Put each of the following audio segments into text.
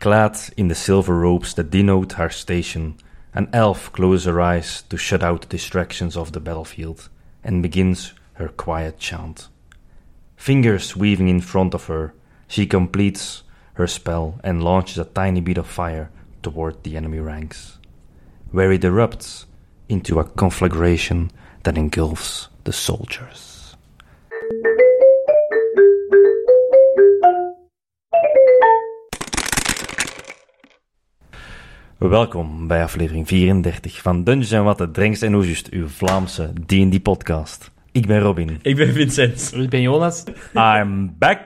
Clad in the silver robes that denote her station, an elf closes her eyes to shut out the distractions of the battlefield and begins her quiet chant. Fingers weaving in front of her, she completes her spell and launches a tiny bead of fire toward the enemy ranks, where it erupts into a conflagration that engulfs the soldiers. Welkom bij aflevering 34 van Dungeons en Watten, Drengs en Oezust, uw Vlaamse D&D-podcast. Ik ben Robin. Ik ben Vincent. Ik ben Jonas. I'm back.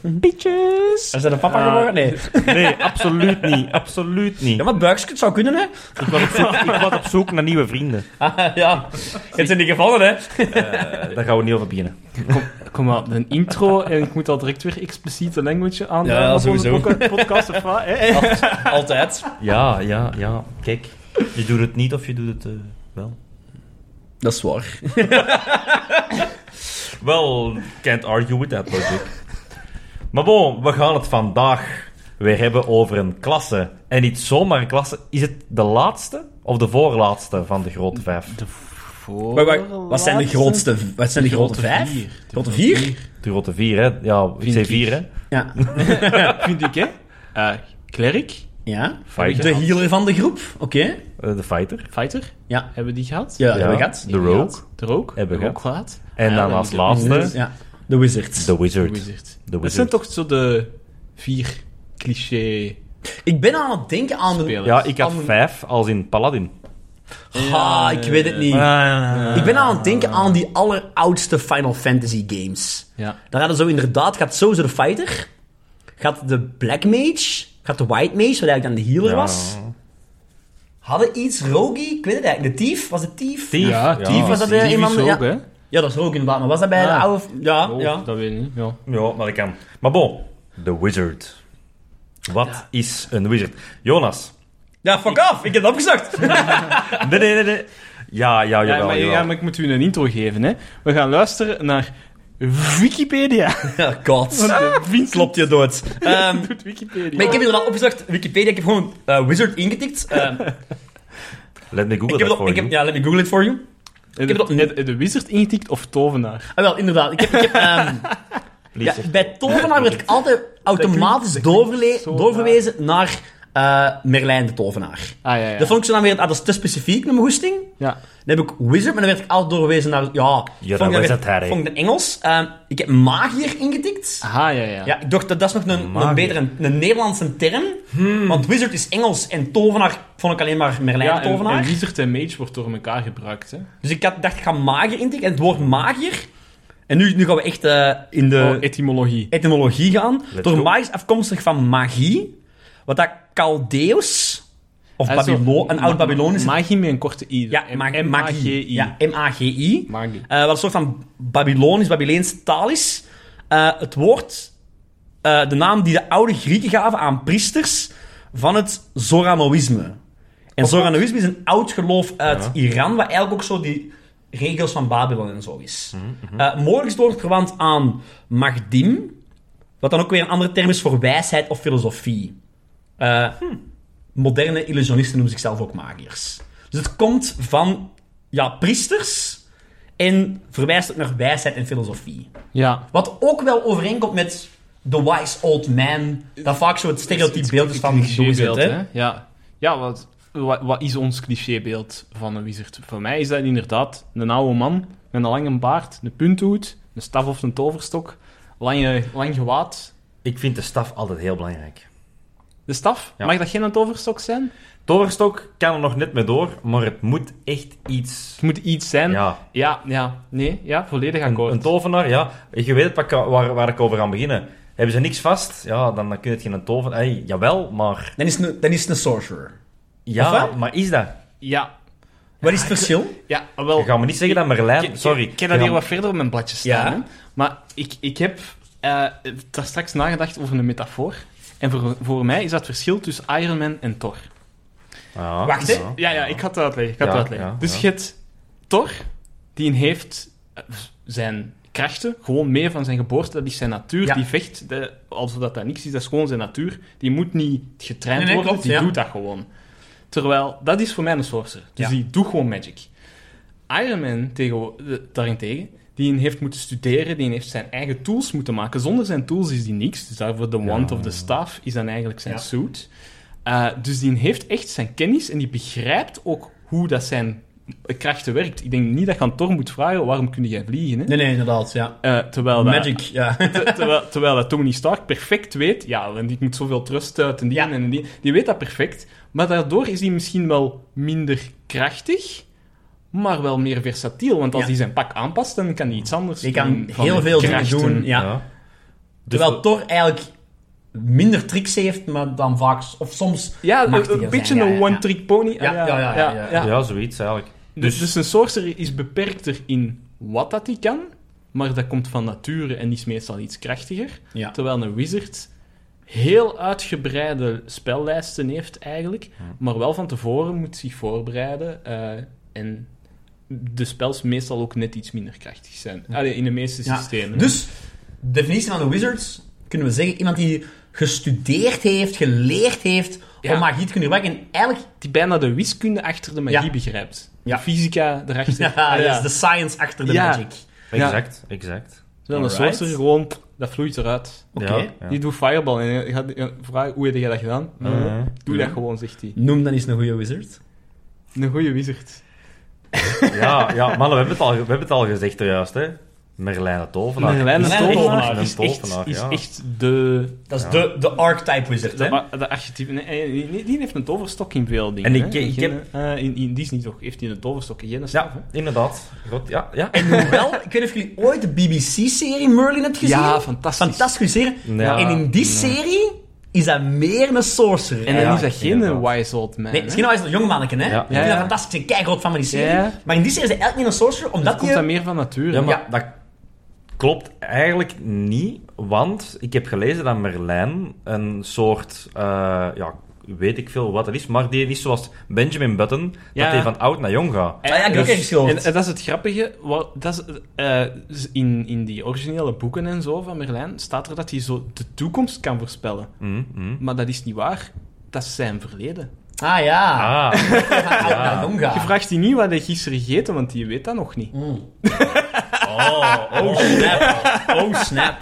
Bitches! Is dat een papa geworden? Nee. Nee, absoluut niet. Absoluut niet. Ja, maar buikske, het zou kunnen, hè? Ik was op zoek, ik was op zoek naar nieuwe vrienden. Ah, ja. Het zijn die gevallen, hè? Ah, Daar gaan we niet over beginnen. Kom maar, een intro en ik moet al direct weer expliciete language aan. Ja, op onze sowieso. podca- podcast of wat, hè? Altijd. Ja, ja, ja. Kijk, je doet het niet of je doet het eh, wel. Dat is waar. Well, can't argue with that logic. Maar bon, we gaan het vandaag weer hebben over een klasse. En niet zomaar een klasse. Is het de laatste of de voorlaatste van de grote vijf? wat zijn de grootste... Wat zijn de, grote, vijf? vier. De Grote vier? De grote vier, hè? Ja, ik Vind zei ik. vier, hè? Ja. Vind ik, hè? Eh Klerk, Ja. Fighter. De healer van de groep. Oké. Eh, De fighter. Fighter, Ja. hebben die gehad? Ja, Ja. hebben we gehad. De rogue. De Rook, Hebben we de Rook gehad. En Ah, dan dan als de laatste, Ja. De wizards. de De wizard. Wizard. De Dat zijn wizard. toch zo de vier cliché Ik ben aan het denken aan... De... spelers. Ja, ik had Am- vijf als in Paladin. Ha, Ah, ik weet het niet. Ik ben aan het denken aan die alleroudste Final Fantasy games. Ja. Dan gaat het zo inderdaad, gaat sowieso de fighter. Gaat de black mage. Gaat de white mage, wat eigenlijk dan de healer was. Hadden iets, Rogi, ik weet het eigenlijk. De thief, was het thief? Thief. Ja, Ja. Tief Was dat bij iemand- is ook, ja. hè? Ja, dat is Rogi inderdaad, maar was dat bij de Ah. oude... Ja, Oh, ja. Dat weet ik niet, ja. Ja, maar dat kan. Maar bon, de wizard. Wat is een wizard? Jonas. Ja, fuck off, ik heb het opgezocht. Nee, nee, nee. nee. Ja, ja, Ja, jawel, maar, jawel. ja, maar ik moet u een intro geven, hè. We gaan luisteren naar Wikipedia. Ja, god. Vindt Klopt je dood. Ehm, doet Wikipedia. maar ik heb inderdaad opgezocht, Wikipedia, ik heb gewoon eh, wizard ingetikt. Ehm, Let me googlen ik heb dat het op- voor ik je. heb, ja, let me google it for you. En heb dat- de, en de wizard ingetikt of tovenaar? Ah, wel, inderdaad. Ik heb, ik heb, ehm, Please, Ja, zeg. bij Tovenaar werd ik altijd automatisch dat klinkt doorverle- zo doorverwezen naar eh, Merlijn de Tovenaar. Ah, ja, ja. Dat vond ik zo dan weer, ah, dat is te specifiek naar mijn goesting. ja. Dan heb ik Wizard, maar dan werd ik altijd doorverwezen naar, ja, Ja, vond dan ik was weer- dat haar, hè. Vond ik de Engels. Ehm, ik heb Magier ingetikt. Aha, Ah, ja, ja. Ja, ik dacht, dat, dat is nog een, Magier. een betere, een Nederlandse term. Want Wizard is Engels en Tovenaar vond ik alleen maar Merlijn Ja, de en, Tovenaar. en wizard en mage wordt door elkaar gebruikt, hè. Dus ik had, dacht, ik ga Magier intikken. En het woord Magier... En nu, nu gaan we echt eh, in de... oh, etymologie. etymologie gaan. Let's door go. magisch afkomstig van magie. Wat dat Chaldeus, of Ah, zo, Babylon, een ma- oud Babylonische... Magie met een korte i. ja, M- ma- M-A-G-I. magie. Ja, M-A-G-I. Magie. Eh, wat een soort van Babylonisch, Babyleense taal is. Eh, het woord, eh, de naam die de oude Grieken gaven aan priesters van het Zoranoïsme. En Zoranoïsme is een oud geloof uit Iran, wat eigenlijk ook zo die regels van Babylon en zo is. Eh, mogelijk is het woord verwant aan Magdim, wat dan ook weer een andere term is voor wijsheid of filosofie. Eh, Moderne illusionisten noemen zichzelf ook magiërs. Dus het komt van ja, priesters en verwijst ook naar wijsheid en filosofie. Ja. Wat ook wel overeenkomt met The Wise Old Man, dat vaak zo het stereotype beeld is van de wizard. Clichébeeld, Hè? hè. Ja. Ja, wat, wat, wat is ons clichébeeld van een wizard? Voor mij is dat inderdaad een oude man met een lange baard, een punthoed, een staf of een toverstok, lange, lang gewaad. Ik vind de staf altijd heel belangrijk. De staf? Ja. Mag dat geen toverstok zijn? Toverstok kan er nog net mee door, maar het moet echt iets... Het moet iets zijn. Ja, Ja, ja, nee, ja, volledig akkoord. een tovenaar, ja. Je weet het, waar, waar, waar ik over ga beginnen. Hebben ze niks vast, ja, dan, dan kun je het geen tovenaar... Hey, jawel, maar... Dan, is het een, dan is het een sorcerer. Ja, Of wat? maar is dat? ja, Wat is het verschil? ja, ah, Je wel. gaat me niet zeggen dat ik- Merlijn... ik- Sorry. Ik heb dat Je hier gaat- wat verder op mijn bladje staan. Ja. hè. Maar ik, ik heb eh, daar straks nagedacht over een metafoor. En voor, voor mij is dat verschil tussen Iron Man en Thor. Ja, Wacht, hè. ja. Ja, ja, ik ga het uitleggen. Ik ga het Ja, uitleggen. ja, dus ja. je hebt Thor, die heeft eh, zijn krachten, gewoon meer van zijn geboorte. Dat is zijn natuur. Ja. Die vecht, de, alsof dat, dat niks is, dat is gewoon zijn natuur. Die moet niet getraind Nee, nee, worden, klopt, die ja. doet dat gewoon. Terwijl, dat is voor mij een sorcerer. Dus Ja. die doet gewoon magic. Iron Man tegen, de- daarentegen, die heeft moeten studeren, die heeft zijn eigen tools moeten maken. Zonder zijn tools is die niks. Dus daarvoor de wand of the staff is dan eigenlijk zijn Ja. suit. Eh, dus die heeft echt zijn kennis en die begrijpt ook hoe dat zijn krachten werkt. Ik denk niet dat je aan Thor moet vragen, waarom kun jij vliegen? Hè? Nee, nee, inderdaad, ja. Eh, terwijl, dat- Magic, ja. te- terwijl, terwijl dat Tony Stark perfect weet, ja, want ik moet zoveel trust uit en die Ja. en die. Die weet dat perfect, maar daardoor is hij misschien wel minder krachtig, maar wel meer versatiel. Want als Ja. hij zijn pak aanpast, dan kan hij iets anders Je kan doen van heel de veel dingen krachten. doen, ja. Terwijl Dus- Thor eigenlijk minder tricks heeft, maar dan vaak... Of soms Ja, een- machtiger een, zijn. beetje Ja, ja, een ja. one-trick pony. Ah, Ja, ja, ja, ja, ja. Ja, zoiets eigenlijk. Dus, dus een sorcerer is beperkter in wat dat hij kan, maar dat komt van nature en is meestal iets krachtiger. Ja. Terwijl een wizard heel uitgebreide spellijsten heeft eigenlijk, maar wel van tevoren moet zich voorbereiden. eh, en de spels meestal ook net iets minder krachtig zijn. Allee, in de meeste Ja. systemen. Dus, definitie van de wizards, kunnen we zeggen, iemand die gestudeerd heeft, geleerd heeft Ja. om magie te kunnen gebruiken. En eigenlijk, die bijna de wiskunde achter de magie Ja. begrijpt. Ja. De fysica erachter. ja, dus Ah, dat is de science achter de Ja. magic. Exact, exact. Terwijl een Alright. sorcerer gewoon, dat vloeit eruit. Oké. Ja, ja. Die doet fireball en je gaat je vraagt hoe heb jij dat gedaan? Mhm. Doe Ja. dat gewoon, zegt hij. Noem dan eens een goede wizard. Een goede wizard. Ja, ja, mannen, we hebben het al, we hebben het al gezegd juist, hè. Merlijn de Tovenaar. Merlijn de Merlijn de Tovenaar Tovenaar. is echt, Tovenaar, is ja. echt de, Dat is Ja. de, de archetype wizard, hè? de, de archetype. Nee, nee, nee, die heeft een toverstok in veel dingen. En ik- hè. ik Geen- eh, in, in Disney toch, heeft hij een toverstok in Jenna Ja, inderdaad. God, ja, ja. En hoewel, ik weet niet of jullie ooit de BBC-serie Merlin hebt gezien. Ja, fantastisch. Fantastische serie. Ja, en in die nee. serie is dat meer een sorcerer. En dan eigenlijk. Ja, is dat geen inderdaad. wise old man. Nee, misschien hè. al is het een jong manneke, hè? Ja. Ik vind Ja, dat ja. fantastisch. Ik ben keigroot fan van die serie. Ja. Maar in die serie is hij eigenlijk niet een sorcerer, omdat komt dat hij... meer van natuur. Ja, hè. maar Ja. dat klopt eigenlijk niet, want ik heb gelezen dat Merlijn een soort, eh, ja, weet ik veel wat dat is, maar die is zoals Benjamin Button, Ja. dat hij van oud naar jong gaat. Ah, ja, ik heb ook Dus- ergens gehoord. en, en dat is het grappige. Wat, dat is, eh, in, in die originele boeken en zo van Merlijn staat er dat hij zo de toekomst kan voorspellen. Mhm, mhm. Maar dat is niet waar. Dat is zijn verleden. Ah ja, Ah, van oud ja. naar jong gaan. Je vraagt die niet wat hij gisteren gegeten, want die weet dat nog niet. Mm. Oh, oh snap. Oh snap.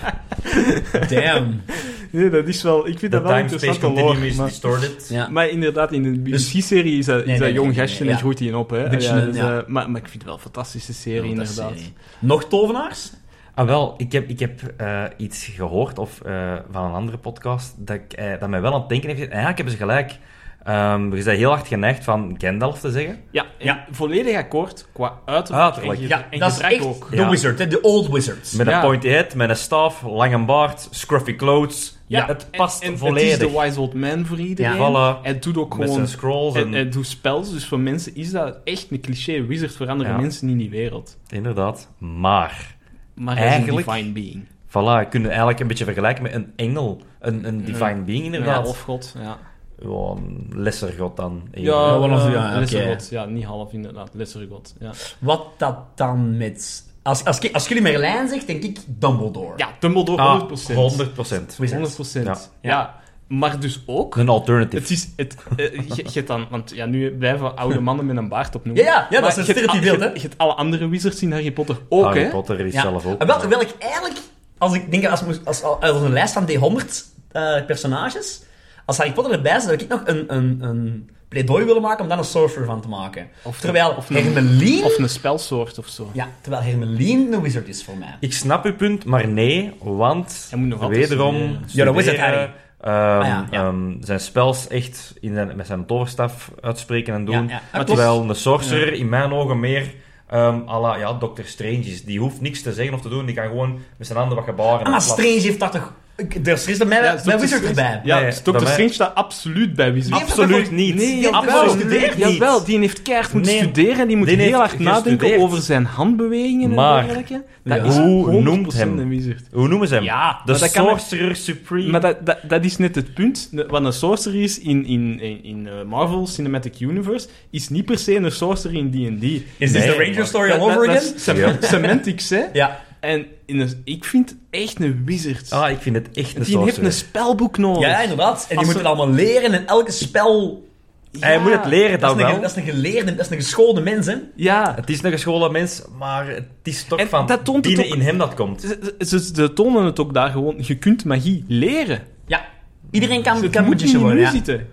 Damn. Nee, dat is wel... Ik vind the dat wel time-space interessant te horen. continuum is maar, distorted. Ja. maar inderdaad, in de Dus- BBC-serie is dat, is Nee, dat nee, jong nee, gastje nee, en ja. groeit hij op. Hè? Beetje Ja, een- dus, ja. eh, maar, maar ik vind het wel een fantastische serie, Inderdaad. inderdaad. Nog tovenaars? Ah, wel, ik heb, ik heb eh, iets gehoord of, eh, van een andere podcast dat, ik, eh, dat mij wel aan het denken heeft. gezet. En eigenlijk hebben ze gelijk. Ehm je bent heel hard geneigd van Gandalf te zeggen. Ja, en Ja. volledig akkoord qua uiterlijk. Uiterlijk. En, ge- Ja, en dat is gedrag echt ook. de Ja. wizard, hè, de old wizard. Met Ja. een point head, met een staf, lange baard, scruffy clothes. Ja, het past en, en volledig. Het is de wise old man voor iedereen. Ja. Voilà. En het doet ook met gewoon... zijn scrolls. En, En, en doet spels, dus voor mensen is dat echt een cliché. Wizard voor andere Ja. mensen in die wereld. Inderdaad. Maar, Maar hij Eigenlijk- is een divine being. voilà, je kunt het eigenlijk een beetje vergelijken met een engel. Een, een divine being, inderdaad. Ja, of god, ja. Gewoon een lesser god dan. Ja, wel of- eh, ja, oké. lesser god. Ja, niet half inderdaad. Lesser god. Ja, Wat dat dan met... Als, als, als jullie Merlijn zegt, denk ik Dumbledore. ja Dumbledore Ah, 100%. 100%. Wizard. 100%. Ja. Ja. maar dus ook... Een alternative. Het is, het, eh, je, je hebt dan, want ja, nu blijven we oude mannen met een baard opnoemen. Ja, ja, ja, dat Maar is een je hebt al- stereotype beeld, je- hè? Je hebt alle andere wizards in Harry Potter ook, Harry hè? Potter is Ja. zelf ook. En wel, terwijl ik eigenlijk, als ik denk, als, moest- als, als, als een lijst van D100 eh, personages, als Harry Potter erbij zou, zou ik nog een, een, een pleidooi willen maken om daar een sorcerer van te maken. Of- terwijl of een- Hermeline... Of een spelsoort of zo. Ja, terwijl Hermeline een wizard is voor mij. Ik snap uw punt, maar nee, want Hij moet nog altijd wederom studeren. Ja, dat was het, Harry. studeren, ehm, Ah, ja, ja. ehm, zijn spels echt in zijn, met zijn toverstaf uitspreken en doen. Ja, ja. Ah, klopt. terwijl de sorcerer in mijn ogen meer ehm à la ja, Dr. Strange is. Die hoeft niks te zeggen of te doen, die kan gewoon met zijn handen wat gebaren. Ah, maar en plat- Strange heeft dat toch... ik- Er is er mijn, Ja, mijn Dr. wizard Strange- erbij. Ja, Nee, Dr. bij mij- Strange staat absoluut bij Wizard. Nee, Absoluut niet. Nee, Die had jawel. gestudeerd niet. Jawel, die heeft keihard moeten Nee. studeren en die moet Die heel heeft hard nadenken gestudeerd. over zijn handbewegingen Maar, en dergelijke. ja. is hoe 100% noemt hem? een wizard. Hoe noemen ze hem? Ja, de maar dat kan- Sorcerer Supreme. Maar dat, dat, dat is net het punt. De- Wat een sorcerer is in, in, in, in, eh, Marvel Cinematic Universe, is niet per se een sorcerer in D&D. Is Nee, this the maar- Ranger story Dat- all over dat- dat again? is sem- Ja. Semantics, hè. Ja. En in een- ik vind het echt een wizard. Ah, ik vind het echt een die heeft sorcerer. een spelboek nodig. Ja, inderdaad. En Als die moet ze- het allemaal leren en elke spel... Ja. Hij moet het leren, Dat dan is, een, wel. ge- dat is een geleerde, dat is een geschoolde mens, hè. Ja. Het is een geschoolde mens, maar het is toch En van dat toont het binnen ook- in hem dat komt. Ze, ze, ze tonen het ook daar gewoon. Je kunt magie leren. Ja. Iedereen kan, Het kan moet boetjes in je worden, nu ja. zitten.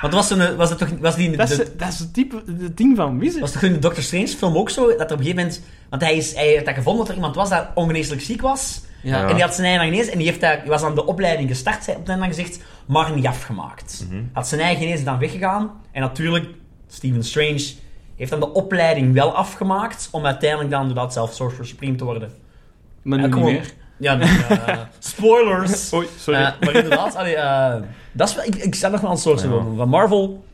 Want was, een, was, dat toch, was, die, in de- Dat is, de- dat is het type, het ding van wizard. was toch in de Doctor Strange film ook zo? Dat er op een gegeven moment... Want hij, is, hij heeft dat gevonden dat er iemand was dat ongeneeslijk ziek was. Ja. En die had zijn eigen magnees en die, heeft dat, die was aan de opleiding gestart, zei op het einde gezegd, maar niet Mhm. afgemaakt. Mhm. Had zijn eigen genees dan weggegaan. En natuurlijk, Stephen Strange heeft dan de opleiding wel afgemaakt, om uiteindelijk dan doordat zelf Sorcerer Supreme te worden. maar Ja, nu niet kom op. meer. Ah, Ja, dan, eh, spoilers! Oei, sorry. Eh, maar inderdaad, allee, eh, dat is wel, ik, ik sta nog wel aan het sourcen Ja. van- van Marvel.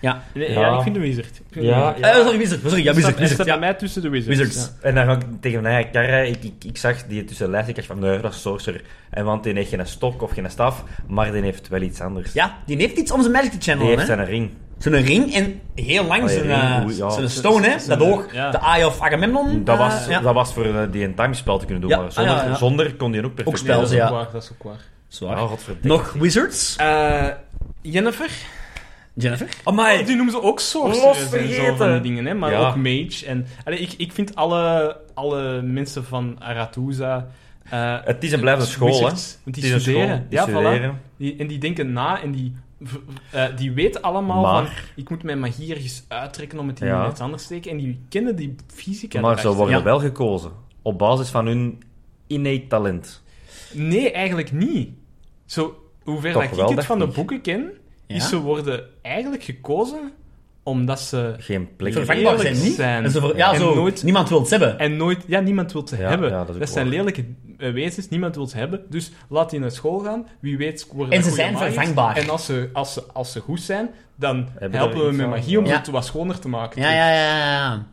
Ja. Nee, ja. Ja. ik vind de wizard. Ik vind Ja. de wizard. Eh, sorry, Wizard. Sorry, ja, Het staat- Wizard. het Wizard, staat ja. bij mij tussen de wizards. Wizards. Ja. En dan ga ik tegen mijn eigen karren, ik, ik, ik zag die tussen lijst, ik dacht van, nee, dat is sorcerer. En want die heeft geen stok of geen staf, maar die heeft wel iets anders. Ja, die heeft iets om zijn magic te Die channelen, heeft hè. zijn ring. Zo'n ring en heel lang Oh, ja, zijn, ring, eh, oei, ja. zijn stone, hè. Dat oog. ja. De Eye of Agamemnon. Dat eh, was, ja. dat was voor eh, die een timespel te kunnen doen, Ja, maar zonder, ah, ja, ja. zonder kon die ook perfect Ook spel, dat is ja. ook waar, dat is ook waar. Ja, Zwaar. godverdikke. Nog Wizards. Eh, Jennifer? Jennifer. Oh, Amai. die noemen ze ook Los sorcerers en zo vergeten. van die dingen, hè? maar Ja. ook mage. En, allee, ik, ik vind alle, alle mensen van Arathusa... eh, Het is en blijft een school, hè. wizards, Want Het die is een studeren. school, die ja, voilà. studeren. Die, en die denken na en die, v- eh, die weten allemaal Maar- van... Ik moet mijn magie ergens uittrekken om het in Ja. iets anders te steken. En die kennen die fysica Maar ze erachter. worden Ja. wel gekozen, op basis van hun innate talent. Nee, eigenlijk niet. Zo, hoe ver Toch dat wel, ik het dacht van de ik. boeken ken, Ja. is ze worden eigenlijk gekozen omdat ze... Geen plek. Vervangbaar zijn niet. zijn. En zo ver- ja, En zo. nooit- Niemand wil het hebben. En nooit... Ja, niemand wil ze Ja, hebben. ja, dat is dat ook zijn waar. lelijke eh, wezens, niemand wil ze hebben. Dus laat die naar school gaan. Wie weet worden En dat ze goede zijn magiërs. vervangbaar. En als ze, als, ze, als ze goed zijn, dan Hebben helpen er we iets met aan, magie om ja. het wat schoner te maken. Ja, ja, ja, ja, ja.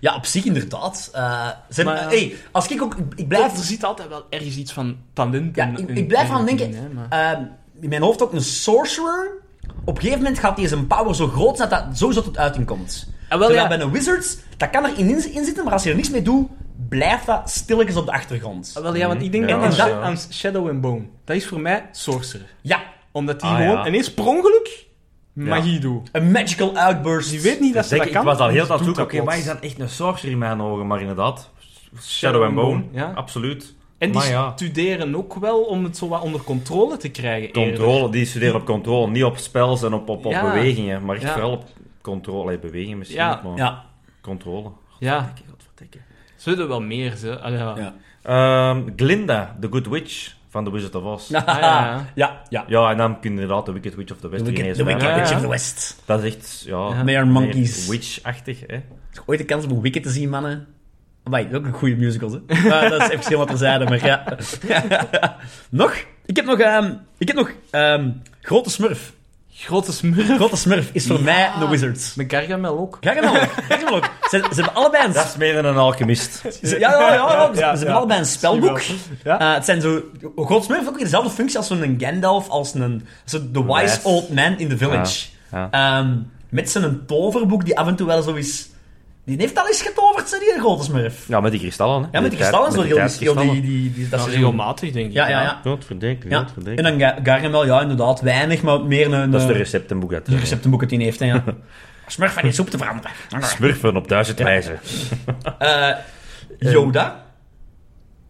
Ja, op zich inderdaad. Eh, ze hebben- Maar- hey, als ik ook... Ik, ik blijf... Er zit altijd wel ergens iets van talent Ja, in- ik, in- ik blijf in- aan denken... in, hè, maar- eh, in mijn hoofd ook een sorcerer. Op een gegeven moment gaat hij zijn power zo groot zijn dat dat sowieso tot uiting komt. Ah, wel, Terwijl ja. bij een wizard, dat kan er in, in zitten, maar als je er niks mee doet, blijft dat stilletjes op de achtergrond. Ah, wel, ja, want ik denk Ja, dan aan, ja. aan Shadow and Bone. Dat is voor mij sorcerer. Ja, Omdat die Ah, gewoon ja. ineens per ongeluk magie doet. een magical outburst. Die weet niet dat ze Zeg, dat ik kan. was al heel dus dat doet zoeken. Oké, plots. maar is dat echt een sorcerer in mijn ogen? Maar inderdaad, Shadow and Bone, ja. absoluut. En die maar ja, studeren ook wel om het zo wat onder controle te krijgen. eerder. controle, die studeren op controle, niet op spels en op, op, op Ja. bewegingen, maar echt Ja. vooral op controle. Allee, bewegingen misschien Ja. niet, maar Ja. controle. Ja, Godverdikke. ze willen wel meer. Ze. Allee, ja. Ja. Ehm, Glinda, the Good Witch van The Wizard of Oz. Ja, Ah, ja. ja, ja. en dan kun je inderdaad de Wicked Witch of the West The Wicked, ineens the maken. wicked Ja, Witch ja. of the West. Dat is echt, ja... Ja. They are meer monkeys. Witch-achtig, hè. Ooit de kans om een Wicked te zien, mannen. Amai, dat is ook een goede musical, hè? Eh, dat is even heel wat terzijde, maar ja. nog? Ik heb nog, ehm, ik heb nog ehm, Grote Smurf. Grote smurf. Grote Smurf is voor mij de Wizard. Met Gargamel ook. Gargamel ook, Gargamel ook. Ze, ze hebben allebei een... Dat is meer dan een alchemist. ze- Ja, ja, ja, ja, Ja, ze, ze ja, hebben ja. allebei een spelboek. Ja. Eh, het zijn zo... Grote Smurf heeft ook weer dezelfde functie als zo'n Gandalf, als een... Zo the wise Wijs. old man in the village. Ja. Ehm, met zijn toverboek die af en toe wel zo is... Die heeft al eens getoverd, zei die een grote smurf. Ja, met die kristallen, hè. Ja, met tijd- die kristallen zo met die heel die, heel oh, die, tijdkristallen. die, die- dat Dat is seizoen. regelmatig, denk ik. Ja, ja, ja. Godverdikke, ja. En dan Ga- Gargamel, ja, inderdaad, weinig, maar meer een... Dat is de eh, receptenboek uit. de receptenboek dat hij heeft, hè, ja. Smurf van die soep te veranderen. Smurfen op duizend wijzen. Eh, Yoda?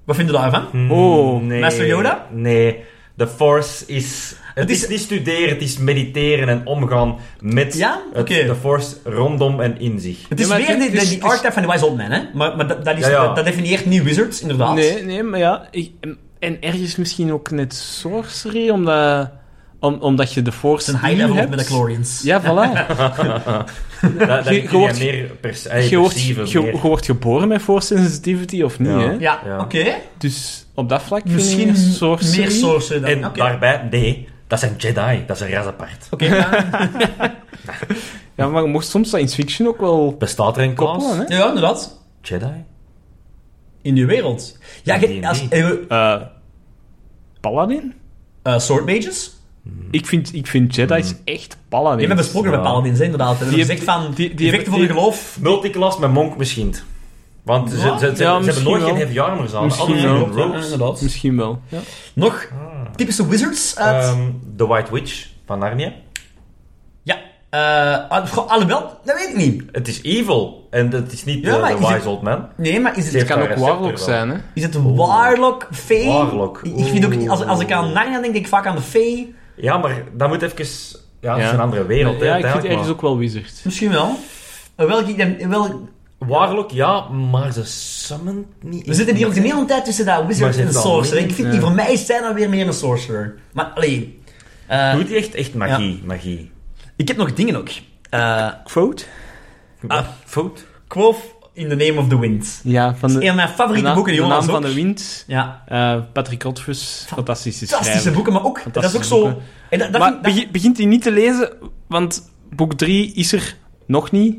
Wat vinden we daarvan? Oh, Mm, nee. Master Yoda? Nee. De Force is... Het is- is niet studeren, het is mediteren en omgaan met Ja? het- Oké. de Force rondom en in zich. Het is Ja, maar weer dit- die, dit is- die archetype van de Wise Old Man, hè? Maar, maar dat, dat, is, Ja, ja. Dat, dat definieert niet Wizards, inderdaad. Nee, nee, maar ja. ik- en- en ergens misschien ook net sorcery, omdat, om- omdat je de Het force is een die high je level hebt. met de Chlorians. Ja, voilà. Dat, dat Je- je kun je wordt- meer pers eh, je, wordt, perceiven, je, meer- je wordt geboren met force sensitivity of niet, Ja. hè? Ja, Ja. oké. Dus op dat vlak Misschien vind ik sorcery... meer sorcery dan. En Oké. daarbij, nee, dat zijn Jedi. Dat is een ras apart. Oké, ja. Ja, maar je mocht soms science fiction ook wel Bestaat er een klas? koppelen, hè? ja, inderdaad. Jedi? In die wereld. Ja, In je, D&D. als, eh, Eh, Paladin? eh, Sword Mages? Ik vind, ik vind Jedi's echt Paladin. Die hebben besproken Ja. met Paladins, hè, inderdaad. Die hebben Die gezegd hebben- van, die- die effecten hebben- voor je geloof. Multiclass met monk misschien. Want ze, ze, ze- ze Ja, hebben misschien nooit wel. geen heavy armors aan. Misschien Alles wel. in robes. inderdaad. Misschien wel. Ja. Nog typische wizards uit... Ehm, The White Witch van Narnia. ja. Eh, ah, goh, alhoewel, dat weet ik niet. Het is evil. En het is niet Ja, eh, maar The is het- Wise Old Man. Nee, maar is het... Ze Het kan ook Receptor Warlock wel. zijn, hè? Is het een warlock, fee? Warlock. Ik vind ook, als, als ik Oh. aan Narnia denk, denk ik vaak aan de fee. Ja, maar dat moet even... Ja, het is Ja. een andere wereld. hè, Ja, ik vind uiteindelijk, ergens ook wel Wizard. Misschien wel. Hoewel ik dan, wel, maar- Warlock, ja, maar ze summoned niet... we zitten hier ook de hele tijd tussen dat Maar wizard zit en dat sorcerer. niet? Ik vind, Ja. die, voor mij is zij dan weer meer een sorcerer. Maar, allee. eh, Doet echt, echt magie, magie. ik heb nog dingen ook. Eh Quote? Ah. Fout. Quoth in the Name of the Wind. Ja, van Dat is de, een van mijn de, favoriete naam, boeken, de Jonas. naam van ook. de wind. Ja, Eh, Patrick Rothfuss, fantastische fantastische schrijver. boeken, maar ook, dat is ook Fantastische zo... boeken. En dat, dat maar vind ik- dat- begi- begint hij niet te lezen, want boek 3 is er nog niet.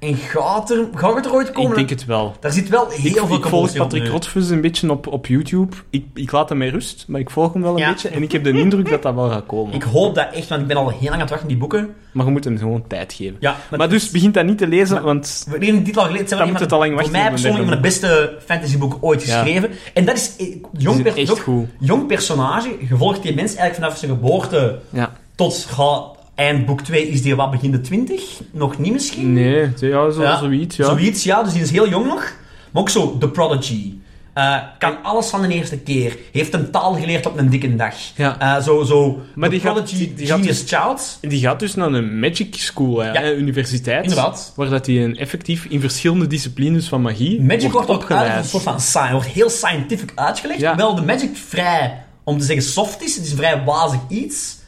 en gaat er, gaat het er ooit komen? Ik denk het wel. Daar zit wel heel Ik, veel ik volg commotie op Patrick nu. Rothfuss een beetje op, op YouTube. Ik, ik laat hem met rust, maar ik volg hem wel een Ja. beetje. En ik heb de indruk dat dat wel gaat komen. Ik hoop dat echt, want ik ben al heel lang aan het wachten op die boeken. Maar je moet hem gewoon tijd geven. Ja, maar dus begint dat niet te lezen, want... We leren dit al geleden. Het zijn Dan wel moet een het van- al lang Voor wachten mij op een persoonlijk een van de derde beste fantasyboeken ooit Ja. geschreven. En dat is... eh, Jong, Die zijn per- echt ook- goed. jong personage, gevolgd die mens eigenlijk vanaf zijn geboorte Ja. tot ga, eind boek 2 is die wat begin de 20? Nog niet misschien? Nee, ja, zo, Ja. zoiets, ja. Zoiets, ja. Dus die is heel jong nog. Maar ook zo, The Prodigy. Eh, kan alles van de eerste keer. Heeft een taal geleerd op een dikke dag. Ja. Eh, zo, zo. Maar the die gaat- Prodigy, die- die gaat- Genius Child. En Die gaat dus naar een magic school, hè, Ja. hè, universiteit. Inderdaad. Waar dat hij een effectief in verschillende disciplines van magie Magic wordt ook opgeleid. uit als een soort van science, wordt heel scientific uitgelegd. Ja. Wel, de magic vrij, om te zeggen, soft is. Het is vrij wazig iets.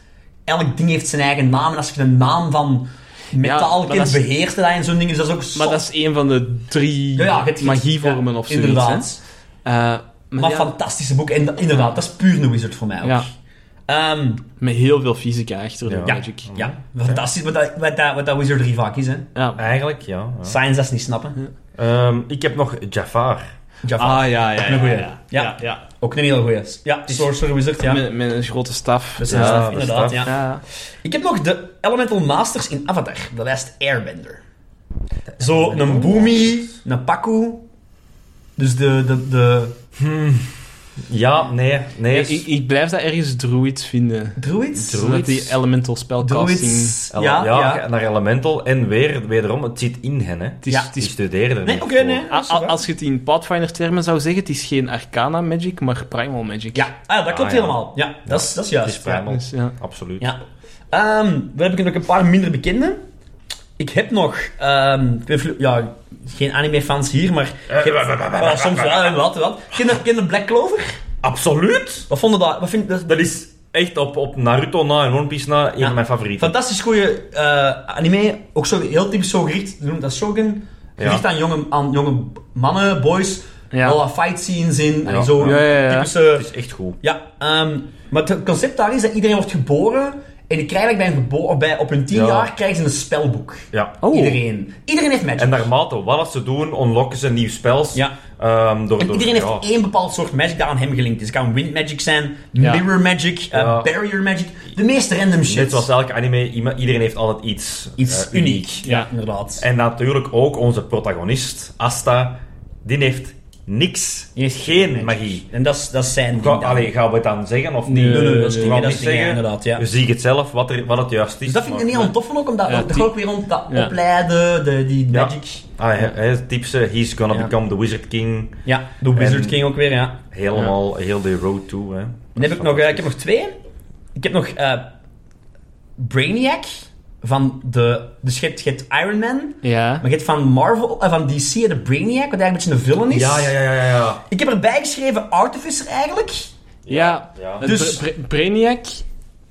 Elk ding heeft zijn eigen naam. En als je de naam van metaal maar kent, dat is- beheerst dat en zo'n ding. Dus dat is ook soft. Maar dat is een van de drie Ja, ja, het- magievormen ja, of zoiets. Inderdaad. hè. Eh, maar Maar ja, fantastische boek. En da- inderdaad, dat is puur een wizard voor mij ook. ja, Ehm, met heel veel fysica achter de Ja. ja, magic. ja, fantastisch wat dat, wat dat, wat dat wizardry vaak is. Hè. Ja. Eigenlijk, ja. ja. Science dat ze niet snappen. Ehm, ik heb nog Jafar. Jafar, Ah, ja, ja, een ja. goeie. ja, Ja. ja, ja. ook een heel goeie. Ja, sorcerer wizard, ja. Met, met een grote staf. Dus Ja, dat is- dat is inderdaad, dat. ja. Ja. Ik heb nog de Elemental Masters in Avatar, de lijst Airbender. Zo, een Boomy, een Paku. Dus de, de, de Ja, nee, nee. Ik, ik, ik blijf dat ergens druid vinden. Druids. Zodat die elemental spelcasting... Druids. Ele- Ja, ja. naar Elemental. En weer, wederom, het zit in hen, hè. Het is, Ja. het Die is studeerden er Nee, niet oké, voor. nee. A- a- als je het in Pathfinder-termen zou zeggen, het is geen Arcana Magic, maar Primal Magic. Ja, ah, ja, dat klopt Ah, ja. helemaal. Ja, dat is, dat is juist. Het is primal. Dus, ja. Absoluut. Ja. Ehm, dan heb ik nog een paar minder bekende. Ik heb nog, ehm, ik ben vlo- ja, geen anime-fans hier, maar ik heb, Ah, soms wel, en wat, wat. Ken je- ken je Black Clover? Absoluut! Wat vonden dat? Wat vind, dat Dat is echt op, op Naruto na en One Piece na een Ja. van mijn favorieten. Fantastisch goede eh, anime. Ook zo, heel typisch zo gericht. Ze noemen dat Shogun. Gericht Ja. aan, jonge, aan jonge mannen, boys. Ja. Alle fight scenes in. En Ja. zo Ja, ja, ja. typische... Het is echt goed. Ja, ehm, maar het concept daar is dat iedereen wordt geboren. En die krijgen eigenlijk bij hun gebo- of bij, op hun tien Ja. jaar krijgen ze een spelboek. Ja. Oh. Iedereen. Iedereen heeft magic. En naarmate wat ze doen, unlocken ze nieuwe spels. Ja. Ehm, door, En door, iedereen ja. heeft één bepaald soort magic dat aan hem gelinkt is. Het kan wind magic zijn, Ja. mirror magic, eh, Ja. barrier magic. De meeste random shit. Net zoals elke anime, ima- iedereen heeft altijd iets, Iets eh, uniek. Ja, Ja. inderdaad. En natuurlijk ook onze protagonist, Asta, die heeft niks. Die heeft geen magie. En dat is, dat is zijn Ga, ding dan. allee, gaan we het dan zeggen of Nee, niet? nee, nee, dat is We dingen, gaan dat niet is dingen, zeggen. inderdaad, ja. Je ziet het zelf wat, er, wat het juist is. Dus dat vind ik maar- een heel tof van ook, omdat Ja, dat die- ook weer rond dat Ja. opleiden, de, die Ja. magic. Ah, hij, hij is het typische, he's gonna Ja. become the Wizard King. Ja, de Wizard King ook weer, ja. Helemaal, heel de road to. Hè. Dan heb ik nog, eh, ik heb nog twee. Ik heb nog eh, Brainiac van de... Dus je hebt, je hebt Iron Man, Ja. maar je hebt van Marvel, eh, van DC de Brainiac, wat eigenlijk een beetje een villain is. Ja, ja, ja, ja. ja. Ik heb erbij geschreven Artificer eigenlijk. Ja. Ja. Dus... Dus- Brainiac...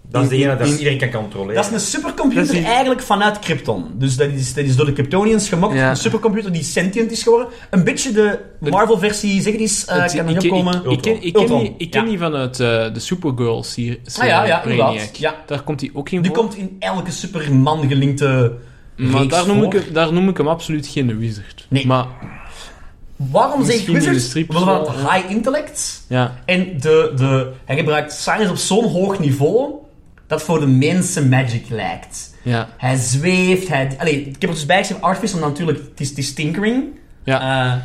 Dat is de In- ene dat in- iedereen kan controleren. Dat is een supercomputer Dat is die- eigenlijk vanuit Krypton. Dus dat is, dat is door de Kryptonians gemokt. Ja. Een supercomputer die sentient is geworden. Een beetje de Marvel-versie, zeg het eens, eh, het- kan er ik, niet ik, op komen. ik, ik ken, ik ken Ultron, die, ik ken ja. die vanuit eh, de Supergirl-serie. Ah, ja, ja, inderdaad. Brainiac. Ja. Daar komt hij ook in Die voor. komt in elke Superman gelinkte maar reeks daar noem, voor. ik, hem- daar noem ik hem absoluut geen wizard. Nee. Maar, Waarom zeg ik Misschien in de wizards? strips Wel van wel, het high intellect. ja. En de, de, hij gebruikt science op zo'n hoog niveau dat voor de mensen magic lijkt. Ja. Hij zweeft, hij... Allee, ik heb er dus bij gezegd, Artifice, omdat natuurlijk, het is, het is tinkering. Ja. Eh, Ja,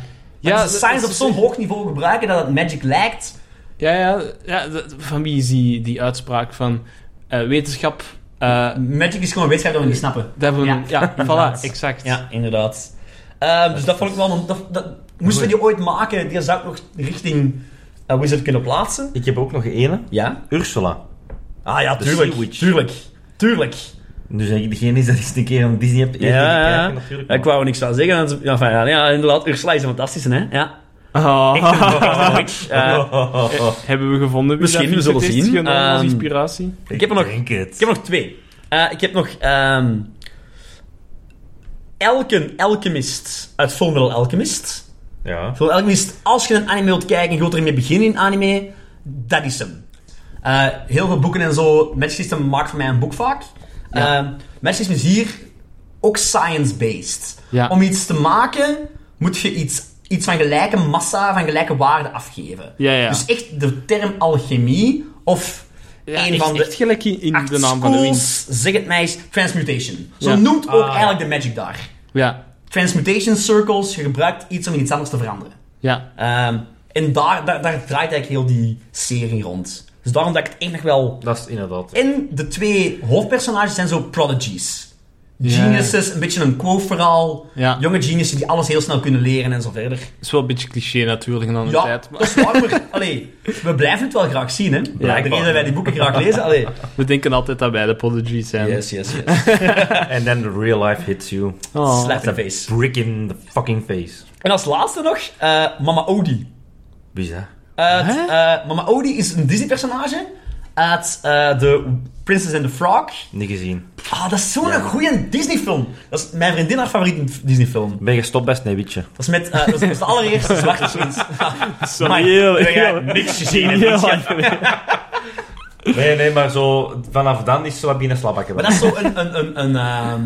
Ja, is de science dat- op zo'n hoog niveau gebruiken dat het magic lijkt. Ja, ja, ja dat- van wie is die, die uitspraak van eh, wetenschap? eh, Magic is gewoon wetenschap dat we niet snappen. dat we, ja, Ja. voilà, exact. Ja, inderdaad. Ehm, dus dat vond ik wel een... Dat, dat, moesten we die ooit maken, die zou ik nog richting eh, Wizard kunnen plaatsen. Ik heb ook nog ene. Ja? Ursula. Ah ja, De tuurlijk. Sea-Witch. Tuurlijk. Tuurlijk. Dus als ik degene is dat eens een keer aan Disney hebt eerder Ja, ja. gekeken natuurlijk. Ik wou er niks van zeggen. want- Ja, enfin, ja, ja, inderdaad. Ursula is een fantastische, hè? Ja. Ah, Echt een fantastische witch. Eh, hebben we gevonden. wie Misschien, dat we zullen heeft zien. genomen als Ehm, inspiratie. ik heb er nog- denk ik het. heb nog twee. Eh, ik heb nog... ehm Elken Alchemist uit Full Metal Alchemist. Ja. Full Metal Alchemist, als je een anime wilt kijken en je wilt ermee beginnen in anime, dat is hem. Eh, heel veel boeken en zo. Magic System maakt voor mij een boek vaak. Ja. Eh, Magic System is hier ook science-based. Ja. Om iets te maken, moet je iets, iets van gelijke massa, van gelijke waarde afgeven. Ja, ja. Dus echt de term alchemie of Ja, een echt, van de echt gelijk in, in acht de naam van de wind. schools, zeg het mij eens, transmutation. Zo Ja. noemt ook Ah, eigenlijk de magic daar. Ja, Transmutation circles, je gebruikt iets om in iets anders te veranderen. ja. Ehm, en daar, daar, daar draait eigenlijk heel die serie rond. Dus daarom dat ik het echt nog wel... Dat is inderdaad. En de twee hoofdpersonages zijn zo prodigies. Ja. Geniuses, een beetje een quo-verhaal. Ja. Jonge geniussen die alles heel snel kunnen leren en zo verder. Het is wel een beetje cliché natuurlijk dan de Ja, tijd. Maar dat is waar, maar allee, we blijven het wel graag zien, hè. Blijkbaar. de reden dat wij die boeken graag lezen, allee. we denken altijd dat wij de prodigies zijn. Yes, yes, yes. And then the real life hits you. Oh. Slap the face. Brick in the fucking face. En als laatste nog, eh, Mama Odie. Wie is dat? Uit, Hè? eh, Mama Odie is een Disney-personage uit eh, de Princess and the Frog. Niet gezien. Ah, dat is zo'n goede Disney-film. Dat is mijn vriendin haar favoriete Disney-film. Ben je gestopt bij Sneeuwwitje? Dat is met eh, dat is- dat is de allereerste zwarte kind. Zo heel, heb jij heel- niks gezien en heel niks lang gehad. geleden. Nee, nee, maar zo... Vanaf dan is Slabine Slabakken. Maar dat is zo een... een, een, een ehm,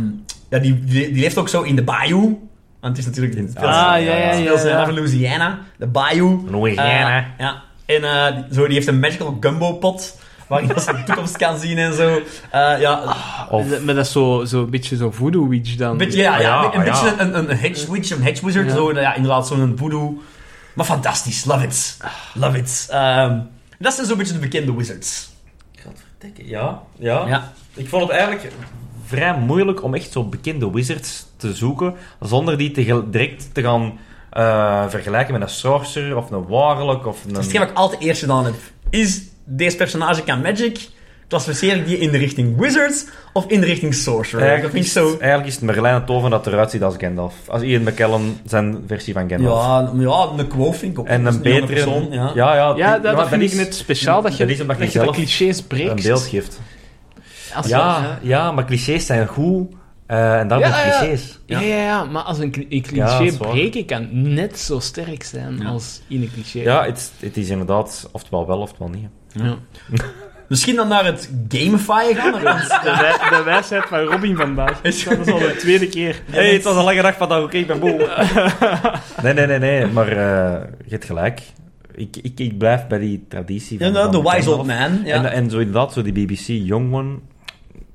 ja, die, die, die leeft ook zo in de bayou. Want het is natuurlijk... Het speelt, Ah, ja, het ja, ja. speelt zich af in Louisiana. De bayou. Louisiana. Eh, ja. En eh, die- zo, die heeft een magical gumbo pot. Waarin dat ze de toekomst kan zien en zo. Eh, ja, Of- Maar dat is zo'n zo een beetje zo'n voodoo witch dan. Een beetje, ja, Ah, ja, ja, een ah, beetje ja. een, een, een hedge witch, een hedge wizard. Ja. Zo, nou ja, inderdaad, zo'n voodoo. Maar fantastisch, love it. Love it. Ehm, dat zijn zo'n beetje de bekende wizards. Ja, ja, Ja. Ik vond het eigenlijk vrij moeilijk om echt zo bekende wizards te zoeken, zonder die te gel- direct te gaan eh, vergelijken met een sorcerer of een warlock of een... Dat is Dus hetgeen wat ik altijd eerst gedaan heb. Is deze personage kan magic? Klassificeer ik die in de richting wizards of in de richting sorcerer? dat Eh, Eigenlijk vind is, ik zo... eigenlijk is het Merlijn het Toven dat eruit ziet als Gandalf. Als Ian McKellen zijn versie van Gandalf. Ja, maar ja, een quo vind ik ook. En Dat is een andere betere... persoon, ja. ja, ja, Ja, die- dat, dat vind is ik net speciaal, dat je, dat is omdat je dat je de zelf clichés Een breekt. beeld geeft. Als- Ja, ja, maar clichés zijn goed. eh, en daar Ja, zijn ja, ja. clichés. Ja, ja, ja, maar als een, cli- een Ja, cliché dat is waar. breken kan net zo sterk zijn als in een cliché. Ja, het, het is inderdaad oftewel wel, oftewel niet. Ja. Misschien dan naar het gamifyen gaan. want- De, wij- de wijsheid van Robin vandaag. Dat is al de tweede keer. Hé, hey, het was een lange dag vandaag, oké, ik ben moe. nee, nee, nee, nee, maar eh je hebt gelijk. Ik, ik, ik blijf bij die traditie van... Ja, nou, van de wise Gandalf. old man. Ja. En, en zo inderdaad, zo die BBC Young One...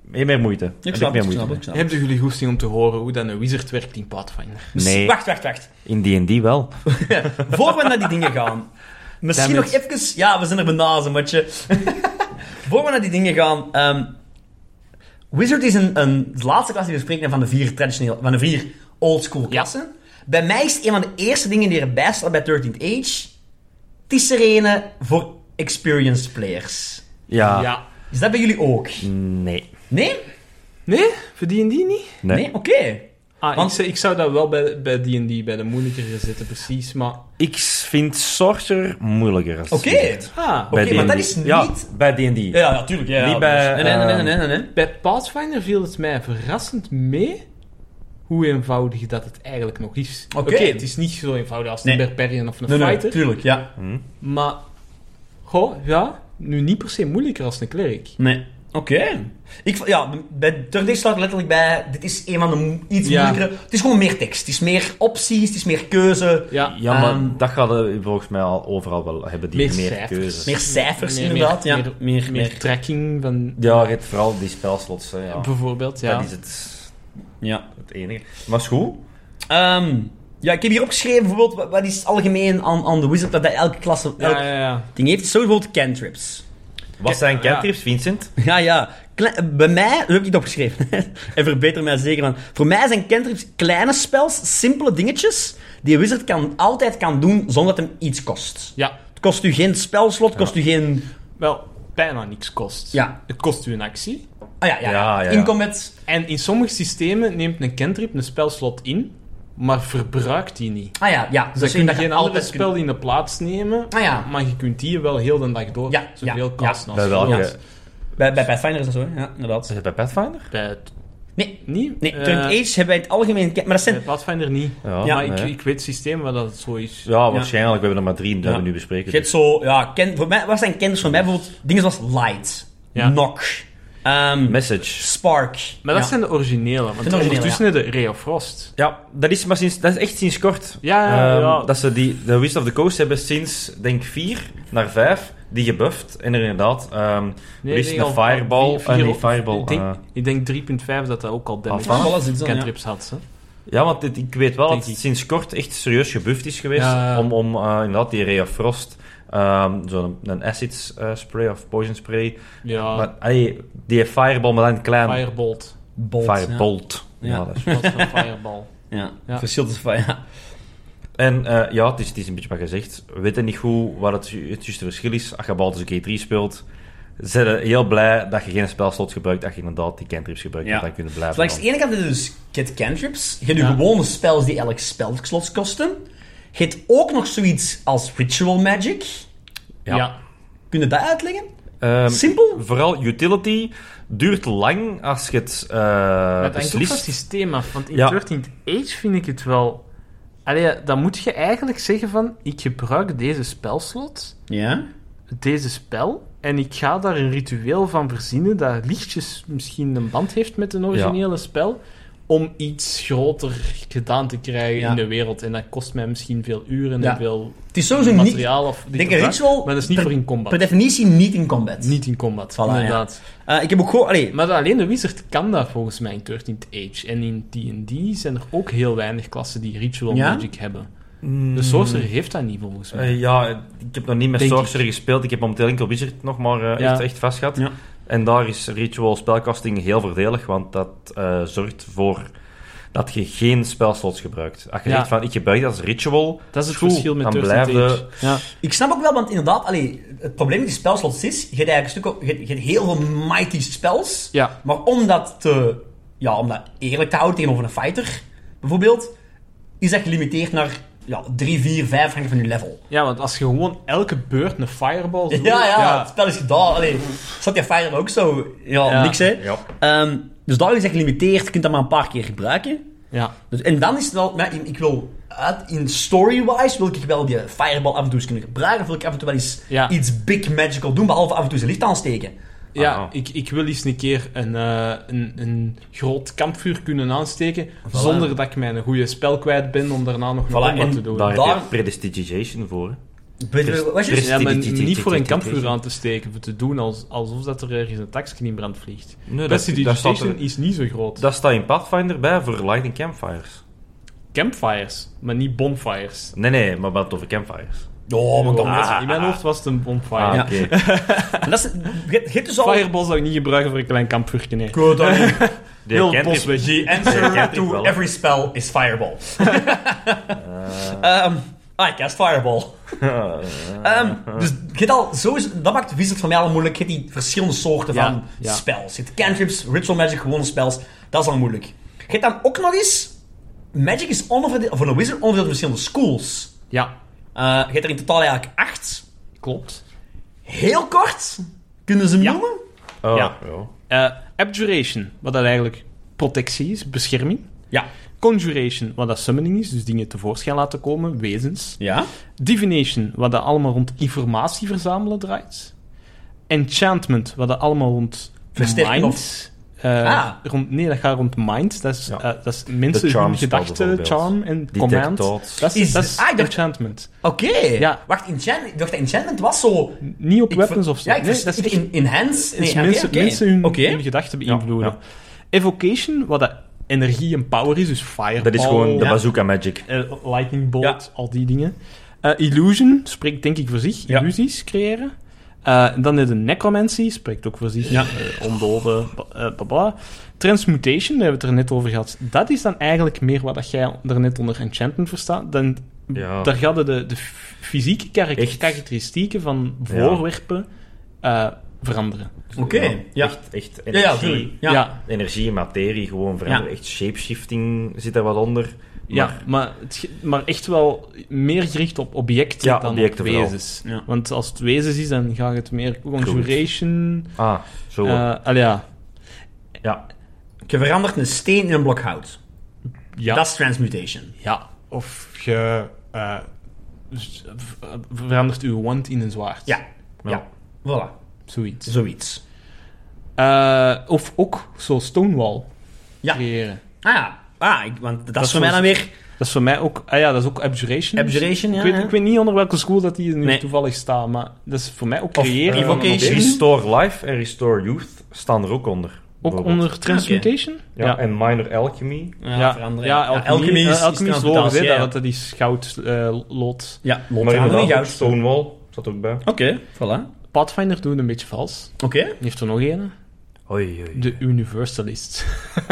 Meer, meer moeite. Heb ik snap meer het, ik moeite snap het, ik snap het. Hebben jullie goesting om te horen hoe dan een wizard werkt in Pathfinder? Nee. Wacht, wacht, wacht. mee. In D&D wel. Voor we naar die dingen gaan. Misschien Damn nog it. even... Ja, we zijn er bijna, zo'n matje. Voor we naar die dingen gaan... ehm, Wizard is een, een, de laatste klas die we spreken van de vier, traditioneel, van de vier oldschool klassen. Bij mij is het een van de eerste dingen die erbij staat bij 13th Age. Het is er een eh, voor experienced players. Ja. Is dat bij jullie ook? Nee. Nee? Nee? Voor die niet? Nee. Nee? Oké. Ah, Want- ik, zou- ik zou dat wel bij, bij D&D, bij de moeilijkere zitten, precies, maar... Ik vind Sorcerer moeilijker. als Oké. wizard. Ah, Bij Oké, maar D&D. dat is Ja, niet- bij D&D. Ja, ja, tuurlijk. Ja, ja, Die bij, nee, nee, ehm, nee, nee, nee, nee. bij Pathfinder viel het mij verrassend mee hoe eenvoudig dat het eigenlijk nog is. Oké. het is niet zo eenvoudig als een Nee. barbarian of een Nee, nee, fighter, tuurlijk, ja. Hm? maar... Goh, ja, nu niet per se moeilijker als een klerk. Nee. Oké. Ik v- Ja, bij Turdish staat letterlijk bij, dit is een van de mo- iets Ja. moeilijkere... Het is gewoon meer tekst. Het is meer opties, het is meer keuze. Ja, Ja, maar Ehm, dat gaat eh, volgens mij al overal wel hebben, die Meer meer, cijfers. keuzes. Meer cijfers, Meer- inderdaad. meer- ja. meer- meer, meer trekking van... Ja, je hebt vooral die spelslots. hè, Ja. Bijvoorbeeld, ja. Dat is het, Ja. het enige. Maar is goed. Ehm, Ja, ik heb hier opgeschreven bijvoorbeeld, wa- wat is algemeen aan, aan de wizard, dat dat elke klasse, elk Ja, ja, ja. ding heeft. Zo bijvoorbeeld cantrips. Wat zijn Ja. cantrips, Vincent? Ja, ja. Kle- bij mij, dat heb ik niet opgeschreven. en verbeter mij zeker van. Voor mij zijn cantrips kleine spels, simpele dingetjes, die een wizard kan, altijd kan doen zonder dat hem iets kost. Ja, Het kost u geen spelslot, het kost u geen... wel, bijna niks kost. Ja. Het kost u een actie. Ah ja, ja. Ja, ja, ja. In combat. En in sommige systemen neemt een cantrip een spelslot in, maar verbruikt die niet. Ah ja, ja. Dus dat je kunt dat geen je andere altijd kunt- spel in de plaats nemen, Ah ja. maar je kunt die wel heel de dag door Ja, zoveel ja, kasten Bij als welke? je Is wilt. Bij, bij Pathfinder is dat zo, hè? ja, inderdaad. het bij Pathfinder? Bij het Nee, niet. nee Eh, Turned Age hebben wij in het algemeen... Maar dat bij zijn... het Pathfinder niet. Ja, Ja, maar ik, nee. ik weet het systeem waar dat het zo is. ja waarschijnlijk. We hebben er maar drie die Ja. we nu bespreken. Je hebt zo... Ja, ken, voor mij, wat zijn kennis voor mij? Bijvoorbeeld dingen zoals Light, Ja. Knock, ehm, dus. Message. Spark. Maar dat Ja. zijn de originele, want de originele, ondertussen de Ray of Frost. Ja, dat is, maar sinds, dat is echt sinds kort. Ja, ja, Ehm, ja. Dat ze die, de Wizard of the Coast hebben sinds, denk 4 naar 5, die gebufft. En er inderdaad, ehm er is nee, een al- Fireball. drie, vier eh, nee, of- Fireball. Ik denk, eh, ik denk 3.5 dat dat ook al damage Afval. Voilà, zit zo, ja. cantrips had. Hè? ja, want dit- ik weet wel Denk dat het ik. sinds kort echt serieus gebufft is geweest. Ja, ja. Om, om eh, inderdaad die Ray of Frost, ehm, zo'n een acid eh, spray of poison spray. Ja, Maar, allee, die Fireball, maar dan klein. Firebolt. Bolt, Firebolt. Ja. Ja. dat is- Dat is een Fireball. Ja, Ja. ja. verschil tussen... van- Ja. En eh, ja, het is, het is een beetje wat gezegd. We weten niet goed wat het, ju- het juiste verschil is. Als je Baldur's Gate 3 speelt, zijn we heel blij dat je geen spelslot gebruikt. Dat je inderdaad die cantrips gebruikt. Ja. want Dan kunnen blijven. Langs de ene kant heb je dus je hebt cantrips, je hebt Ja. je gewone spels die elk spelslots kosten. Je hebt ook nog zoiets als ritual magic. Ja. Eh, Ja. Kun je dat uitleggen? Ehm, Simpel? Vooral utility duurt lang als je het eh, Het hangt ook van het beslist. systeem af. Want in Ja. 13th Age vind ik het wel... Allee, dan moet je eigenlijk zeggen van... Ik gebruik deze spelslot, Ja. deze spel... En ik ga daar een ritueel van verzinnen dat lichtjes misschien een band heeft met een originele spel... Om iets groter gedaan te krijgen Ja. in de wereld. En dat kost mij misschien veel uren Ja. en veel Het is sowieso niet, materiaal. Of dit denk of een dat, ritual Maar dat is niet per- voor in combat. per definitie niet in combat. Niet in combat, Voilà, ja. inderdaad. Eh, ik heb ook gewoon... Allee, Maar alleen de wizard kan dat volgens mij in 13th Age. En in D&D zijn er ook heel weinig klassen die ritual Ja? magic hebben. Mm. De sorcerer heeft dat niet volgens mij. Eh, ja, ik heb nog niet met Denk ik. Sorcerer gespeeld. Ik heb momenteel enkel Wizard nog maar eh, Ja. echt, echt vast gehad. Ja. En daar is ritual spelcasting heel voordelig, want dat eh, zorgt voor dat je geen spelslots gebruikt. Als je Ja. zegt van, ik gebruik dat als ritual, dat is het cool, verschil met dan 13th blijf Age. je... Ja. ik snap ook wel, want inderdaad, allee, het probleem met die spelslots is, je hebt eigenlijk een stuk, je, hebt- je hebt heel veel mighty spells, Ja. maar om dat, te, ja, om dat eerlijk te houden tegenover een fighter, bijvoorbeeld, is dat gelimiteerd naar ja, 3, 4, 5 hangen van je level. ja, want als je gewoon elke beurt een fireball doet... Ja, ja, het spel is gedaan. Allee, zat die Fire ook zo? Ja, Ja. niks hè. Ja. Ehm, dus daar is het gelimiteerd. Je kunt dat maar een paar keer gebruiken. ja. Dus, en dan is het wel... maar ik, ik wil uit, in story-wise wil ik wel die fireball af en toe eens kunnen gebruiken. Of wil ik af en toe wel eens Ja. iets big magical doen, behalve af en toe zijn licht aansteken. Ja, Ah. ik, ik wil eens een keer een, eh, een, een groot kampvuur kunnen aansteken, zonder dat ik mijn goede spel kwijt ben om daarna nog een Voilà, combat en te doen. Daar Daar- heb je prestidigitation voor. hè. Weet je Wat is Prest- het? Ja, maar niet voor een prestidigitation. kampvuur aan te steken, voor te doen als, alsof dat er ergens een taxje in brand vliegt. Nee, dat, Beste dat, staat er- is niet zo groot. dat staat in Pathfinder bij voor Lightning Campfires. Campfires, maar niet bonfires. Nee, nee, maar we hadden het over campfires. Oh, maar kom. Ah. In mijn hoofd was het een bonfire. Ah, Ja. oké. En dat is... Je je hebt dus Ah. al... Fireball zou ik niet gebruiken voor een klein kampvuurtje. nee. Goed, dan- Die Heel kent dit- bos weg. The Ja, answer kent ik to wel. every spell is fireball. Ehm I cast fireball. Ah, Ehm, dus je hebt al, zo is, dat maakt Wizard voor mij al moeilijk. Je hebt die verschillende soorten Ja, van ja. spells. Je hebt cantrips, ritual magic, gewone spells. Dat is al moeilijk. Je hebt dan ook nog eens... Magic is onverdeeld, voor een wizard onverdeeld in verschillende schools. Ja, Eh, je hebt er in totaal eigenlijk acht. klopt. Heel kort kunnen ze hem Ja. noemen. Oh, Ja. ja. Eh, abjuration, wat dat eigenlijk protectie is, bescherming. Ja. Conjuration, wat dat summoning is, dus dingen tevoorschijn laten komen, wezens. Ja. Divination, wat dat allemaal rond informatie verzamelen draait. Enchantment, wat dat allemaal rond Versterking mind... eh, Ah. rond, nee, dat gaat rond mind. Dat is, Ja. eh, dat is mensen charm hun spel gedachten, bijvoorbeeld. charm en Detect command. thoughts. Dat is, Is- dat is ah, ik dacht- enchantment. Oké. Ja. Wacht, enchantment, ik dacht dat enchantment was zo... N- Niet op ik ver- weapons of zo. Ja, ik Nee, vers- dat is ik- echt- in, enhance. het Nee, is oké, mensen, oké. mensen hun, Oké. hun gedachten beïnvloeden. Ja, Evocation, wat dat energie en power is, dus fireball. Dat is gewoon de ja. bazooka magic. eh, lightning bolt, Ja. al die dingen. Eh, illusion spreekt denk ik voor zich. Ja. Illusies creëren. Eh, dan is de necromancy, spreekt ook voor zich. Ja. Eh, ondoden, ba- eh, bla bla. Transmutation, daar hebben we het er net over gehad. Dat is dan eigenlijk meer wat dat jij er net onder enchantment verstaat. Dan, Ja. Daar gaan de, de f- fysieke karak- Oh. Echt. karakteristieken van Ja. voorwerpen eh, veranderen. Oké, ja. Echt, echt Ja, ja, energie, tuurlijk. Ja. energie en materie gewoon veranderen. Ja. Echt shapeshifting zit daar wat onder. Ja, Maar- maar, het, ge- maar echt wel meer gericht op objecten Ja, dan objecten op vooral. wezens. Ja. Want als het wezens is, dan gaat het meer conjuration. Ah, zo. eh al ja. ja. Je verandert een steen in een blok hout. Ja. Dat is transmutation. ja. Of je eh, z- v- eh, verandert uw wand in een zwaard. Ja. Ja. Ja. Voilà. Zoiets. Zoiets. Eh, of ook zo Stonewall Ja. creëren. Ah ja. Ah, ik, want dat, is is voor mij dan weer Dat is voor mij ook... Ah ja, dat is ook Abjuration. Abjuration, ja, Ik weet, ja. ik weet niet onder welke school dat die nu Nee. toevallig staat, maar dat is voor mij ook Of, creëren. eh, van een Evocation. object. Restore Life en Restore Youth staan er ook onder. Ook bijvoorbeeld. onder Transmutation? Ja, En Minor Alchemy. ja, veranderen. Ja, alchemie, alchemie eh, is, alchemie is logisch, transmutatie, hè, ja. dat dat is goud, eh, lood. Ja, Maar lotte aan inderdaad, ook goud. Stonewall zat ook bij. Oké, voilà. Pathfinder doet een beetje vals. Oké. Die heeft er nog een. Oei, oei. De Universalist.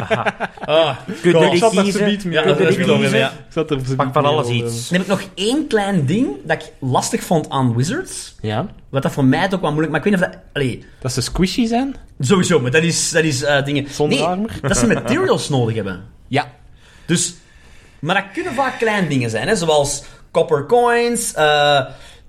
Ah, Kun God. je zat daar kiezen? zometeen mee. Ja, dat Kun je is wel weer, kiezen? ja. Ik zat er op z'n Pak van biet alles mee, iets. Dan heb ik nog één klein ding dat ik lastig vond aan Wizards. eh, Ja, Wat dat voor mij het ook wel moeilijk... Maar ik weet niet of dat... Allee, dat ze squishy zijn. sowieso, maar dat is, dat is eh, dingen... Zonder nee, armor. dat ze materials nodig hebben. Ja. Dus... Maar dat kunnen vaak kleine dingen zijn, hè. Zoals copper coins, eh,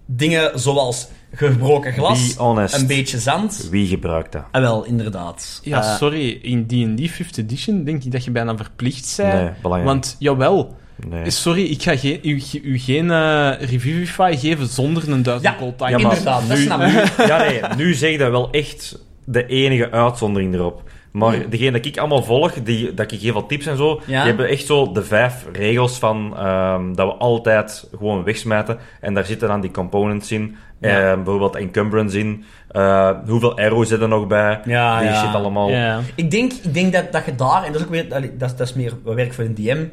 dingen zoals gebroken glas, Be honest. een beetje zand. Wie gebruikt dat? Ah, wel, inderdaad. Ja, Eh, sorry. In D&D 5th edition denk ik dat je bijna verplicht bent. Nee, belangrijk. Want, jawel. Eh, Nee. Sorry, ik ga geen, u, u geen eh, Revivify geven zonder een ja, duizend gold time. Ah, inderdaad, dat snap ik. Ja, nee, nu zeg je dat wel echt de enige uitzondering erop. Maar degene dat ik allemaal volg, die, dat ik geef al tips en zo, Ja. die hebben echt zo de vijf regels van ehm, dat we altijd gewoon wegsmijten. En daar zitten dan die components in, Ja. ehm, bijvoorbeeld encumbrance in, eh, hoeveel arrows zitten er nog bij, Ja, die ja. shit allemaal. Ja. Ik denk, ik denk dat, dat je daar, en dat is ook weer, allee, dat, is- dat is meer werk voor een DM,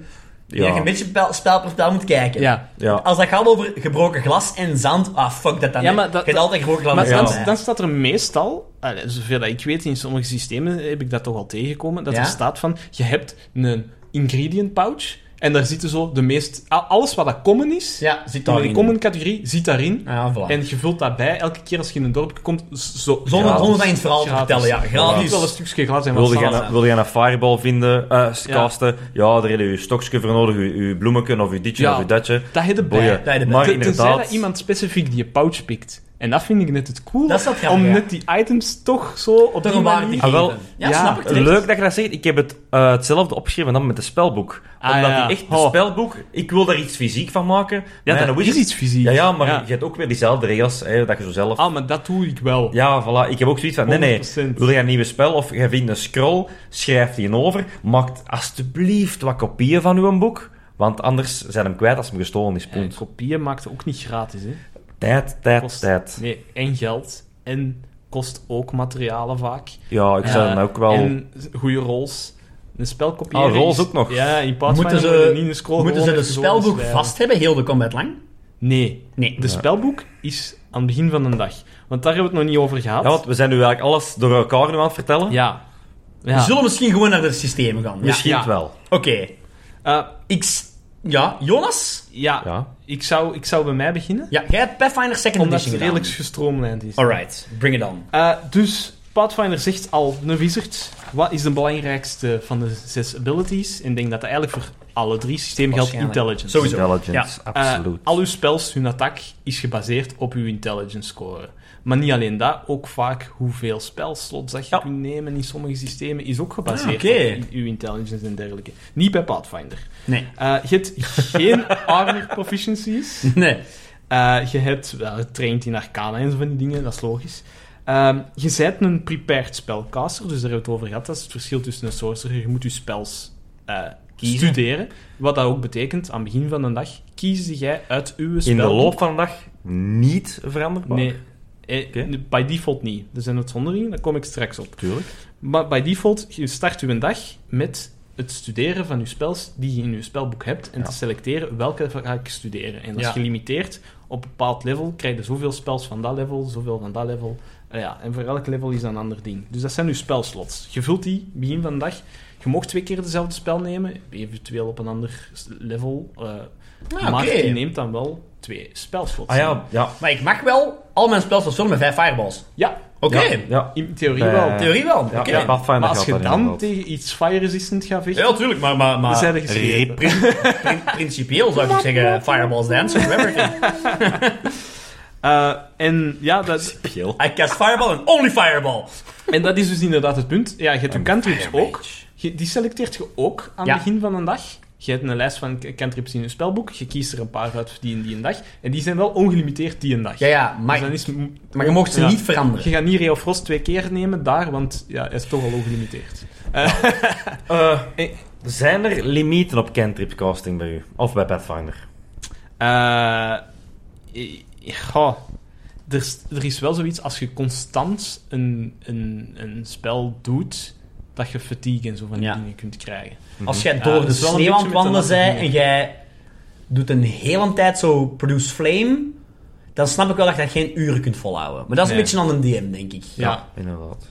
Ja. dat je een beetje pel- spelportaal moet kijken. ja. Ja. Als dat gaat over gebroken glas en zand, ah fuck dat dan. Ja, hè. maar dat- je hebt altijd gebroken glas Maar en zand. dan, bij. dan staat er meestal, allee, zover dat ik weet, in sommige systemen heb ik dat toch al tegengekomen, dat Ja? er staat van, je hebt een ingredient pouch, en daar zitten zo de meest... a- Alles wat dat common is, ja, zit in daarin. de common categorie, zit daarin. Ja, voilà. En je vult dat bij elke keer als je in een dorp komt, z- zo, zonder, Gratis. zonder dat in het verhaal te Gratis. vertellen, ja. Het moet Gratis. wel een stukje glas zijn. Wil want je, salsa. een, wil je een fireball vinden, eh casten? Ja, daar heb je je stokje voor nodig, je, je bloemetje of je ditje Ja. of je datje. Dat heb je Boeien. bij. Dat heb je Maar Te- Tenzij dat inderdaad, iemand specifiek die pouch pikt. En dat vind ik net het cool. Dat is dat grappig, om ja. net die items toch zo op Toch die een waarde manier... te Ah, wel. geven. Ja, Ja, snap ik terecht. Leuk dat je dat zegt. Ik heb het, eh, hetzelfde opgeschreven dan met het spelboek. Ah, Omdat ja. die echt, het Oh. spelboek, ik wil daar iets fysiek van maken. Ja, Mijn dat wizard- is iets fysiek. Ja, ja, maar Ja. je hebt ook weer diezelfde regels, hè, dat je zo zelf... Ah, maar dat doe ik wel. Ja, voilà. Ik heb ook zoiets van, nee, nee, 100%. wil je een nieuwe spel of je vindt een scroll, schrijf die over, maak alstublieft wat kopieën van uw boek, want anders zijn hem kwijt als hem gestolen is. En Punt. kopieën maakt ook niet gratis, hè? Tijd, tijd, Kost- tijd. Nee, en geld. En kost ook materialen vaak. Ja, ik zou Eh, dan ook wel... En goede rolls. Een spel kopiëren. Ah, rolls is- ook nog. Ja, in Pathfinder Moeten moet je ze, niet een scroll moeten ze gewoon het even zo spelboek beschrijven. vast hebben, heel de combat lang? Nee. Nee. De spelboek is aan het begin van de dag. Want daar hebben we het nog niet over gehad. Ja, want we zijn nu eigenlijk alles door elkaar nu aan het vertellen. ja. We Ja. zullen misschien gewoon naar de systemen gaan. Ja. Misschien ja. wel. Oké. Eh, Ik... s- Ja, Jonas? ja. Ja. Ik, zou, ik zou bij mij beginnen. Ja, jij hebt Pathfinder Second Omdat het Edition redelijk gedaan. gestroomlijnd is. Alright, bring it on. Eh, dus Pathfinder zegt al, een wizard, wat is de belangrijkste van de zes abilities? En ik denk dat dat eigenlijk voor alle drie systemen geldt, Waarschijnlijk. intelligence. Sowieso. Intelligence, Eh, absoluut. al uw spels, hun attack, is gebaseerd op uw intelligence score. Maar niet alleen dat, ook vaak hoeveel spelslots dat je Ja. kunt nemen in sommige systemen is ook gebaseerd Ah, oké. op uw intelligence en dergelijke. Niet bij Pathfinder. Nee. Eh, je hebt geen armor proficiencies. Nee. Eh, je hebt wel getraind in arcana en zo van die dingen, dat is logisch. Ehm, je bent een prepared spelcaster, dus daar hebben we het over gehad. Dat is het verschil tussen een sorcerer. Je moet je spels eh, Kiezen. studeren. Wat dat ook betekent, aan het begin van de dag kies jij uit uw spel. In de loop van de dag niet veranderbaar. Dus Nee. Eh, Oké. n- By default niet. Er zijn uitzonderingen, daar kom ik straks op. Tuurlijk. Maar by default, je start uw dag met het studeren van je spels die je in je spelboek hebt en Ja. te selecteren welke ga ik studeren. En dat Ja. is gelimiteerd op een bepaald level. Krijg je zoveel spels van dat level, zoveel van dat level. Eh, ja, en voor elk level is dat een ander ding. Dus dat zijn je spelslots. Je vult die begin van de dag. Je mocht twee keer dezelfde spel nemen, eventueel op een ander s- level. eh, Ah, Maar oké. je neemt dan wel twee spelslots. Ah ja, ja. Maar ik mag wel al mijn spels vervullen met vijf fireballs. Ja, Oké, Ja, ja. in theorie Bij- wel. in theorie wel. Oké. Ja, ja, Pathfinder maar als gaat je dat dan inderdaad. tegen iets fire resistant gaat vechten, Ja, natuurlijk, maar, maar, maar dan zijn er geschreven. prin- principieel zou ik zeggen: Fireballs dance with everything. Eh, en, ja, dat, I cast fireball and only fireball. en dat is dus inderdaad het punt. Ja, je hebt je cantrips Fire ook. Mage. Je- die selecteert je ook aan Ja. het begin van een dag. Je hebt een lijst van k- cantrips in je spelboek. Je kiest er een paar uit voor die en die een dag. En die zijn wel ongelimiteerd die een dag. Ja, ja, Dus maar, dan is, m- maar je mocht ze Ja. niet veranderen. je gaat niet Ray of Frost twee keer nemen daar, want ja, hij is toch al ongelimiteerd. Eh, Eh. zijn er limieten op cantrip casting bij u? Of bij Pathfinder? Eh, i- goh. er, is- er is wel zoiets als je constant een, een, een spel doet, dat je fatigue en zo van die Ja. dingen kunt krijgen. Als jij Ja, door dat de is wel een sneeuw aan beetje het met een wandelen bent en andere jij doet een hele tijd zo produce flame, dan snap ik wel dat je dat geen uren kunt volhouden. Maar dat is Nee. een beetje aan een DM, denk ik. Ja. Inderdaad.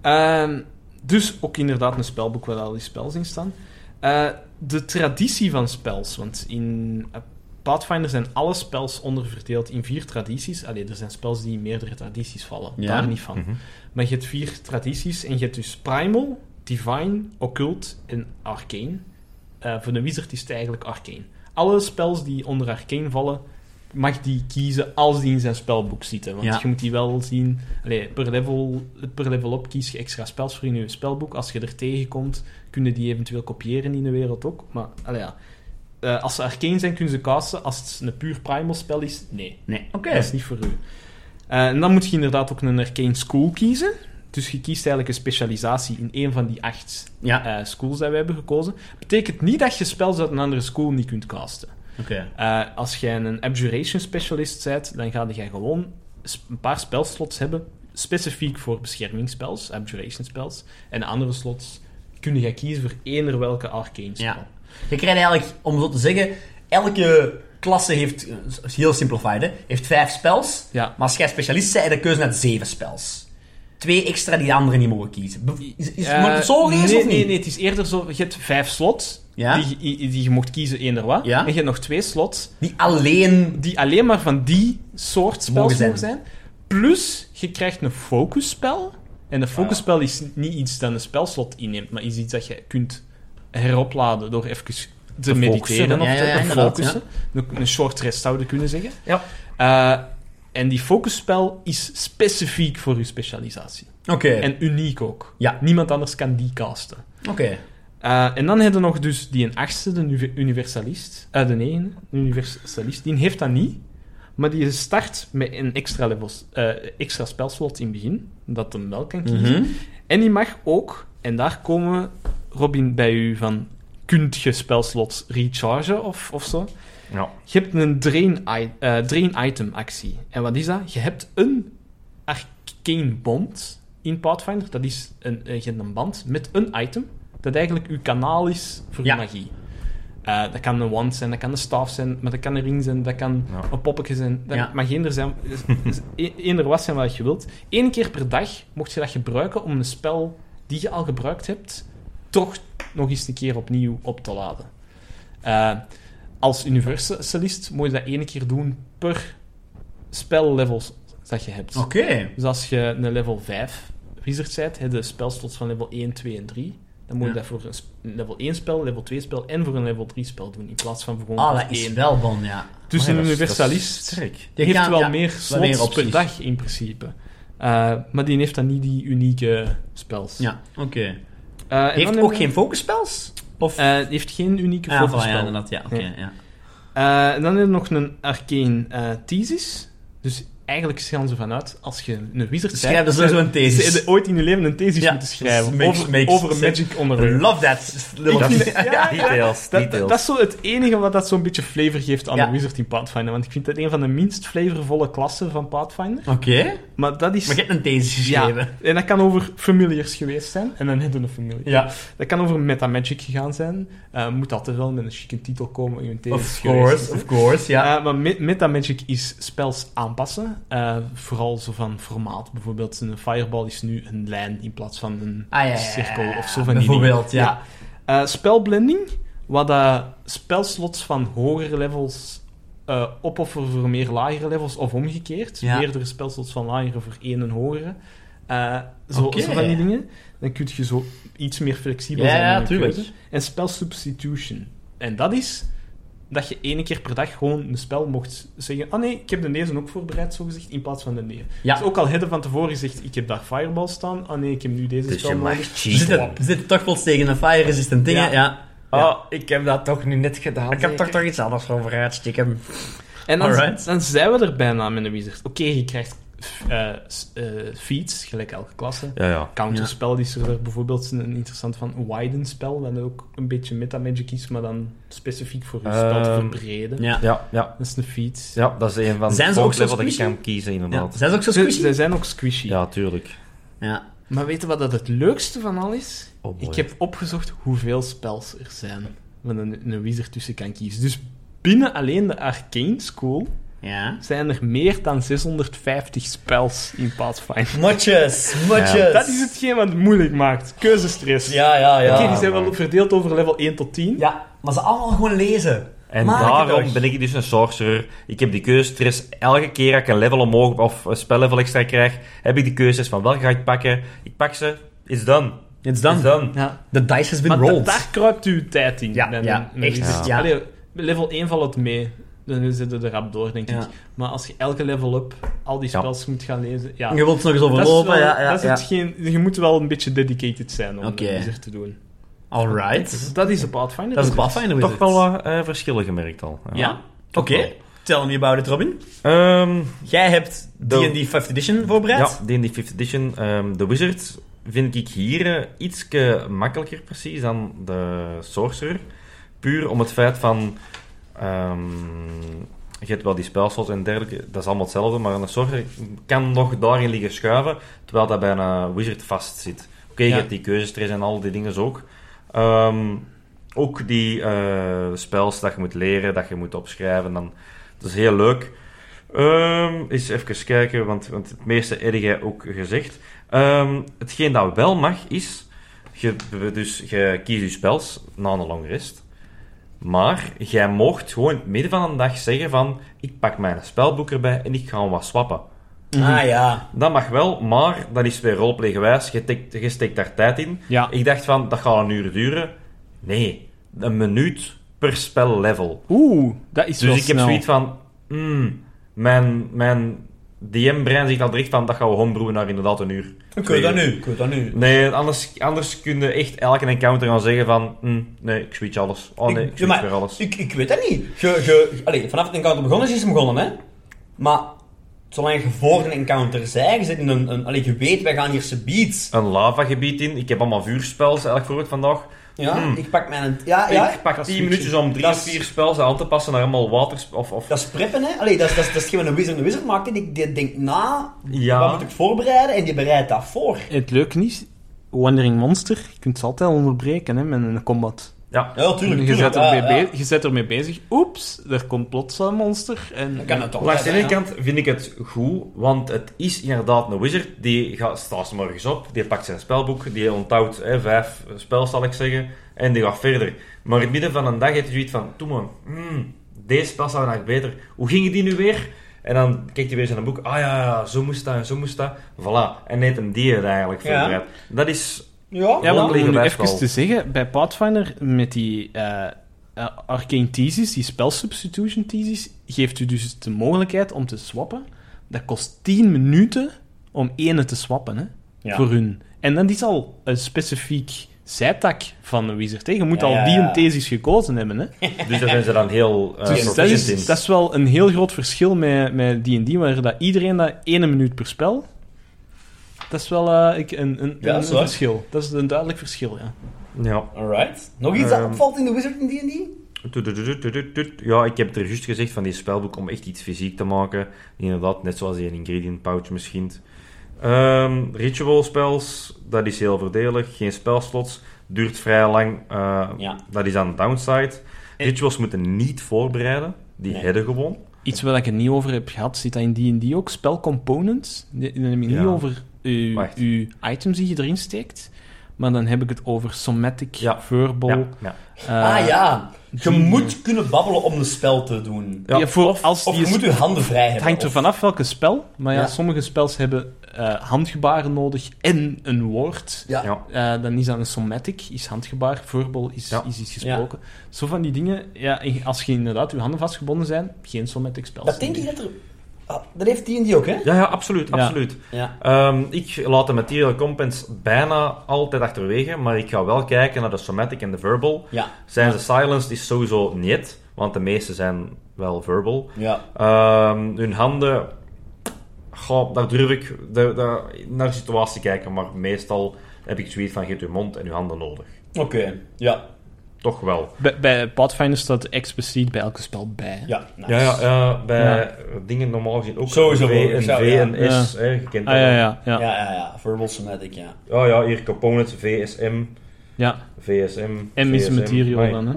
Ehm, dus ook inderdaad een spelboek waar al die spels in staan. Eh, de traditie van spels, want in eh, Pathfinder zijn alle spels onderverdeeld in vier tradities. Allee, er zijn spels die in meerdere tradities vallen, Ja. daar niet van. Mhm. Maar je hebt vier tradities en je hebt dus Primal, Divine, Occult en Arcane. Eh, voor een wizard is het eigenlijk Arcane. Alle spels die onder Arcane vallen, mag die kiezen als die in zijn spelboek zitten. Want Ja. je moet die wel zien... Allee, per, level, per level op kies je extra spels voor in je spelboek. Als je er tegenkomt, kunnen die eventueel kopiëren in de wereld ook. Maar allee, ja. Eh, als ze Arcane zijn, kunnen ze casten. Als het een puur Primal spel is, nee. Nee, oké. Dat is niet voor u. Eh, en dan moet je inderdaad ook een Arcane School kiezen. Dus je kiest eigenlijk een specialisatie in één van die acht Ja, eh, schools die we hebben gekozen. Betekent niet dat je spels uit een andere school niet kunt casten. oké. Eh, als jij een Abjuration Specialist bent, dan ga je gewoon sp- een paar spelslots hebben, specifiek voor beschermingsspels, Abjuration spels. En andere slots kun je kiezen voor eender welke Arcane spel. Ja. Je krijgt eigenlijk, om zo te zeggen, elke klasse heeft, eh, is heel simplified, hè, heeft vijf spels. Ja. Maar als jij specialist bent, heb je de keuze naar zeven spels. Twee extra die de anderen niet mogen kiezen. Be- Is, is, Eh, moet ik het zo lezen nee, of niet? Nee, nee, het is eerder zo. Je hebt vijf slots Ja. die, je- die, die je mocht kiezen eender wat. Ja. En je hebt nog twee slots Die alleen... die alleen maar van die soort spels Mogen zijn. mogen zijn. Plus, je krijgt een focusspel. En Ah. een focusspel is niet iets dat een spelslot inneemt, maar is iets dat je kunt heropladen door even te, mediteren of Ja, ja, ja, te, te inderdaad, focussen. Een- Een short rest zouden kunnen zeggen. Ja. Eh, en die focusspel is specifiek voor je specialisatie. Oké, En uniek ook. Ja. Niemand anders kan die casten. oké. Eh, en dan hebben we nog dus die een achtste, de nu- universalist. Eh, de negende, de universalist. Die heeft dat niet. Maar die start met een extra, levels, eh, extra spelslot in het begin. Dat hem wel kan kiezen. Mhm. En die mag ook, en daar komen we, Robin bij u van... Kunt je spelslots rechargen of, of zo? Ja. Je hebt een drain, i- eh, drain item actie. En wat is dat? Je hebt een arcane bond in Pathfinder. Dat is een, eh, je hebt een band met een item dat eigenlijk uw kanaal is voor Ja. magie. Eh, dat kan een wand zijn, dat kan een staaf zijn, maar dat kan een ring zijn, dat kan Ja. een poppetje zijn. Dat Ja. mag eender, zijn, is- is- eender wat zijn wat je wilt. Eén keer per dag mocht je dat gebruiken om een spel die je al gebruikt hebt, toch nog eens een keer opnieuw op te laden. Eh, als universalist moet je dat één keer doen per spellevels dat je hebt. Oké. Dus als je een level 5 wizard bent, heb je spelslots van level 1, 2 en 3. Dan moet je Ja. dat voor een sp- een level 1 spel, level 2 spel en voor een level 3 spel doen. In plaats van voor gewoon Ah, voor dat is Ah, één. wel bon, ja. Dus Maar ja, een dat is- dat is universalist Sterk. Je heeft kan- wel ja, meer wel slots meer opties. per dag in principe. Eh, maar die heeft dan niet die unieke spels. Ja, oké. Eh, en dan Heeft hebben ook we- geen focusspels? Of... eh, die heeft geen unieke ah, voilà, focusspel. ja, inderdaad, ja. oké, Nee. ja. Eh, en dan hebben we nog een arcane eh thesis. Dus eigenlijk gaan ze vanuit, als je een wizard Schrijf er bent... sowieso een Ze thesis. hebben ooit in hun leven een thesis Ja, moeten schrijven makes- over, makes over een sense. magic onderwerp. Love that. little Dat thing. is- Details, Dat, details. dat is zo het enige wat dat zo'n beetje flavor geeft aan Ja. de Wizard in Pathfinder. Want ik vind dat een van de minst flavorvolle klassen van Pathfinder. Oké, Maar dat is... maar je hebt een thesis ja. geschreven. En dat kan over familiars geweest zijn. En dan heb je een familiar. Ja, Dat kan over metamagic gegaan zijn. Eh, moet altijd wel met een chique titel komen in een thesis of geweest te course, zijn. of course, ja. Eh, maar me- metamagic is spels aanpassen. Eh, vooral zo van formaat. Bijvoorbeeld een fireball is nu een lijn in plaats van een Ah, ja, ja, ja, cirkel ja, of zo van die bijvoorbeeld, dingen. ja. Eh, spelblending, wat eh spelslots van hogere levels eh opofferen voor meer lagere levels of omgekeerd. Ja. Meerdere spelslots van lagere voor één en hogere. Eh, zo, Oké. zo van die dingen. Dan kun je zo iets meer flexibel Ja, zijn. ja, in je tuurlijk. keuze. En spelsubstitution. En dat is dat je ene keer per dag gewoon een spel mocht zeggen. Ah nee, ik heb de deze ook voorbereid, zogezegd, in plaats van de nee. Ja. Dus ook al hadden van tevoren gezegd, ik heb daar Fireball staan. Ah nee, ik heb nu deze Dus spel je nodig. mag We zitten, cheaten. we zitten toch plots tegen een fire-resistant ding, hè? Ja. ja. Oh, ik heb dat toch nu net gedaan. Ik heb toch toch iets anders voorbereid, stiekem. En dan, Alright. dan zijn we er bijna met de wizard. Oké, je krijgt eh, s- eh, feats, gelijk elke klasse. Ja, ja. Counterspel is er bijvoorbeeld een interessant van. Widen spel, dat ook een beetje metamagic is, maar dan specifiek voor je spel te Ehm, verbreden. Ja. Ja, ja. Dat is een feat. Ja, dat is een van Zijn ze de ook zo level dat je squishy? kan kiezen, ja. inderdaad. Zijn ze ook zo Ze, ze squishy? zijn ook squishy. Ja, tuurlijk. Ja. Maar weten wat dat het leukste van al is? Oh, mooi. Ik heb opgezocht hoeveel spels er zijn. Waar een, een wizard tussen kan kiezen. Dus binnen alleen de Arcane School Ja. zijn er meer dan 650 spels in Pathfinder. Matjes, matjes. Ja. Dat is hetgeen wat het moeilijk maakt. Keuzestress. Ja, ja, ja. Oké, die zijn wel maar- verdeeld over level 1 tot 10. Ja, maar ze allemaal gewoon lezen. En Maar daarom toch. ben ik dus een sorcerer. Ik heb die keuzestress. Elke keer dat ik een level omhoog of een spellevel extra krijg, heb ik die keuzestress van welke ga ik pakken. Ik pak ze. It's done. It's It's done. Ja. The dice has been Maar da- rolled. daar kruipt uw tijd in. Ja, bij een- ja, een echt, wizard. ja. Allee, level 1 valt het mee. Dan zitten we er rap door, denk Ja. ik. Maar als je elke level up al die Ja. spels moet gaan lezen... Ja, Je wilt ze nog eens dat is overlopen, wel- ja, ja, dat is ja. hetgeen- je moet wel een beetje dedicated zijn om Oké. een wizard te doen. Alright. Dat is de Pathfinder. Dat is Pathfinder Toch Wizard. wel wat eh, verschillen gemerkt al. Ja. Oké. Tell me about it, Robin. Ehm, Jij hebt De- D&D 5th Edition voorbereid. Ja, D&D 5th Edition. ehm, de Wizard vind ik hier iets makkelijker precies dan de Sorcerer. Puur om het feit van... ehm, je hebt wel die spelslots en dergelijke, dat is allemaal hetzelfde, maar een Sorcerer kan nog daarin liggen schuiven, terwijl dat bij een eh, Wizard vast zit. Oké, Ja. je hebt die keuzestress en al die dingen ook. Ehm, ook die eh, spels dat je moet leren, dat je moet opschrijven. Dan, dat is heel leuk. Ehm, eens even kijken, want, want het meeste heb jij ook gezegd. Ehm, hetgeen dat wel mag is, je, dus je kiest je spels na een long rest. Maar jij mocht gewoon in het midden van een dag zeggen van, ik pak mijn spelboek erbij en ik ga hem wat swappen. Ah ja. Dat mag wel, maar dat is weer roleplaygewijs. Je, tikt- je steekt daar tijd in. Ja. Ik dacht van, dat gaat een uur duren. Nee, een minuut per spellevel. Oeh, dat is wel Dus ik heb snel. zoiets van, hmm, mijn, mijn DM-brein zegt al direct van, dat gaan we homebrewen naar inderdaad een uur. Kun je dat nu? Kun je dat nu? Nee, anders, anders kun je echt elke encounter gaan zeggen van, hmm, nee, ik switch alles. Oh nee, ik, ja, switch maar weer alles. Ik, ik weet dat niet. Je, je, allee, vanaf het encounter begonnen is, is hem begonnen, hè? Maar zolang je voor een encounter zij, je, zit in een, een, allee, je weet, wij gaan hier subiet. Een lavagebied in, ik heb allemaal vuurspels eigenlijk voor het vandaag. Ja, Hmm. ik pak mijn. Ja, ja. ik pak dat 10 is switchen. minuutjes om drie Dat of is- vier spels aan te passen naar allemaal waters... Of, of Dat is preppen, hè? Allee, dat is, dat is, dat is geen een wizard een wizard maakt. hè. Die, die denkt na, Ja. wat moet ik voorbereiden? En die bereidt dat voor. Het leuke is, Wandering Monster, je kunt ze altijd onderbreken hè, met een combat. Ja, Ja, tuurlijk, je, tuurlijk. Ah, zet ja, ermee ja. bezig, je zet ermee bezig. Oeps, er komt plots een monster. En, eh, Dan kan het toch. Langs de Ja, ene ja. kant vind ik het goed, want het is inderdaad een wizard. Die gaat, staat 's morgens op, die pakt zijn spelboek, die onthoudt hè, vijf eh, spels, zal ik zeggen, en die gaat verder. Maar in het midden van een dag heb je zoiets van, toen man, hmm, deze spel zou eigenlijk beter. Hoe ging die nu weer? En dan kijkt hij weer zijn boek, ah ja, ja, zo moest dat en zo moest dat. Voilà, en neemt hem die het eigenlijk Ja. voorbereid. Dat is... Ja, Ja, Wandering want om nu wijsval. even te zeggen, bij Pathfinder met die eh eh, arcane thesis, die spelsubstitution thesis, geeft u dus de mogelijkheid om te swappen. Dat kost 10 minuten om ene te swappen hè, Ja. voor hun. En dat is al een specifiek zijtak van een wizard. Hè. Je moet Ja, al ja, die ja. een thesis gekozen hebben. Hè. Dus daar zijn ze dan heel eh Dus dat proficient in. is, dat is wel een heel groot verschil met met D&D, waar dat iedereen dat één minuut per spel... Dat is wel eh, ik, een, een, Ja, een dat is waar. verschil. Dat is een duidelijk verschil, ja. Ja. Alright. Nog iets dat Ehm. opvalt in de Wizard in D&D? Tutututututut. Ja, ik heb het er juist gezegd van die spelboek om echt iets fysiek te maken. Inderdaad, net zoals die een ingredient pouch misschien. Ehm, ritual spells, dat is heel voordelig. Geen spelslots, duurt vrij lang. Eh, Ja. Dat is aan de downside. En- Rituals moeten niet voorbereiden, die Nee. hebben gewoon. Iets waar ik het niet over heb gehad, zit dat in D&D ook? Spelcomponents? Nee, Dan heb ik Ja. niet over uw, Wacht. uw items die je erin steekt, maar dan heb ik het over somatic, Ja. verbal... Ja, ja. eh, ah ja, je die- moet kunnen babbelen om een spel te doen. Ja. ja, voor als Of die je moet je handen vrij Het hebben. hangt er Of- vanaf welke spel, maar ja, Ja. sommige spels hebben eh, handgebaren nodig en een woord. Ja. Ja. Eh, dan is dat een somatic, is handgebaar, verbal is, Ja. is iets gesproken. Zo van die dingen, ja, en als je inderdaad je handen vastgebonden zijn, geen somatic spel. Dat denk ik dat er... Ah, dat heeft D&D ook, hè? Ja, ja, absoluut, Ja. absoluut. Ja. Ehm, ik laat de material compense bijna altijd achterwege, maar ik ga wel kijken naar de somatic en de verbal. Ja. Zijn ze silenced is sowieso niet, want de meeste zijn wel verbal. Ja. Ehm, hun handen, goh, daar durf ik daar- daar- naar de situatie kijken, maar meestal heb ik zoiets van: geef je mond en je handen nodig. Oké. Ja. Toch wel. Bij, bij Pathfinder staat expliciet bij elke spel bij. hè. Ja. nice. Ja, ja, eh, bij Ja. dingen normaal gezien ook. Sowieso een V, wel, een zou- V, ja. een S, hè, je kent Ah, dat ja, wel. ja, ja. ja. Ja, ja, ja. Verbal somatic, ja. Ja, ja, hier components, VSM, VSM. En is VSM. material Amai. dan, hè.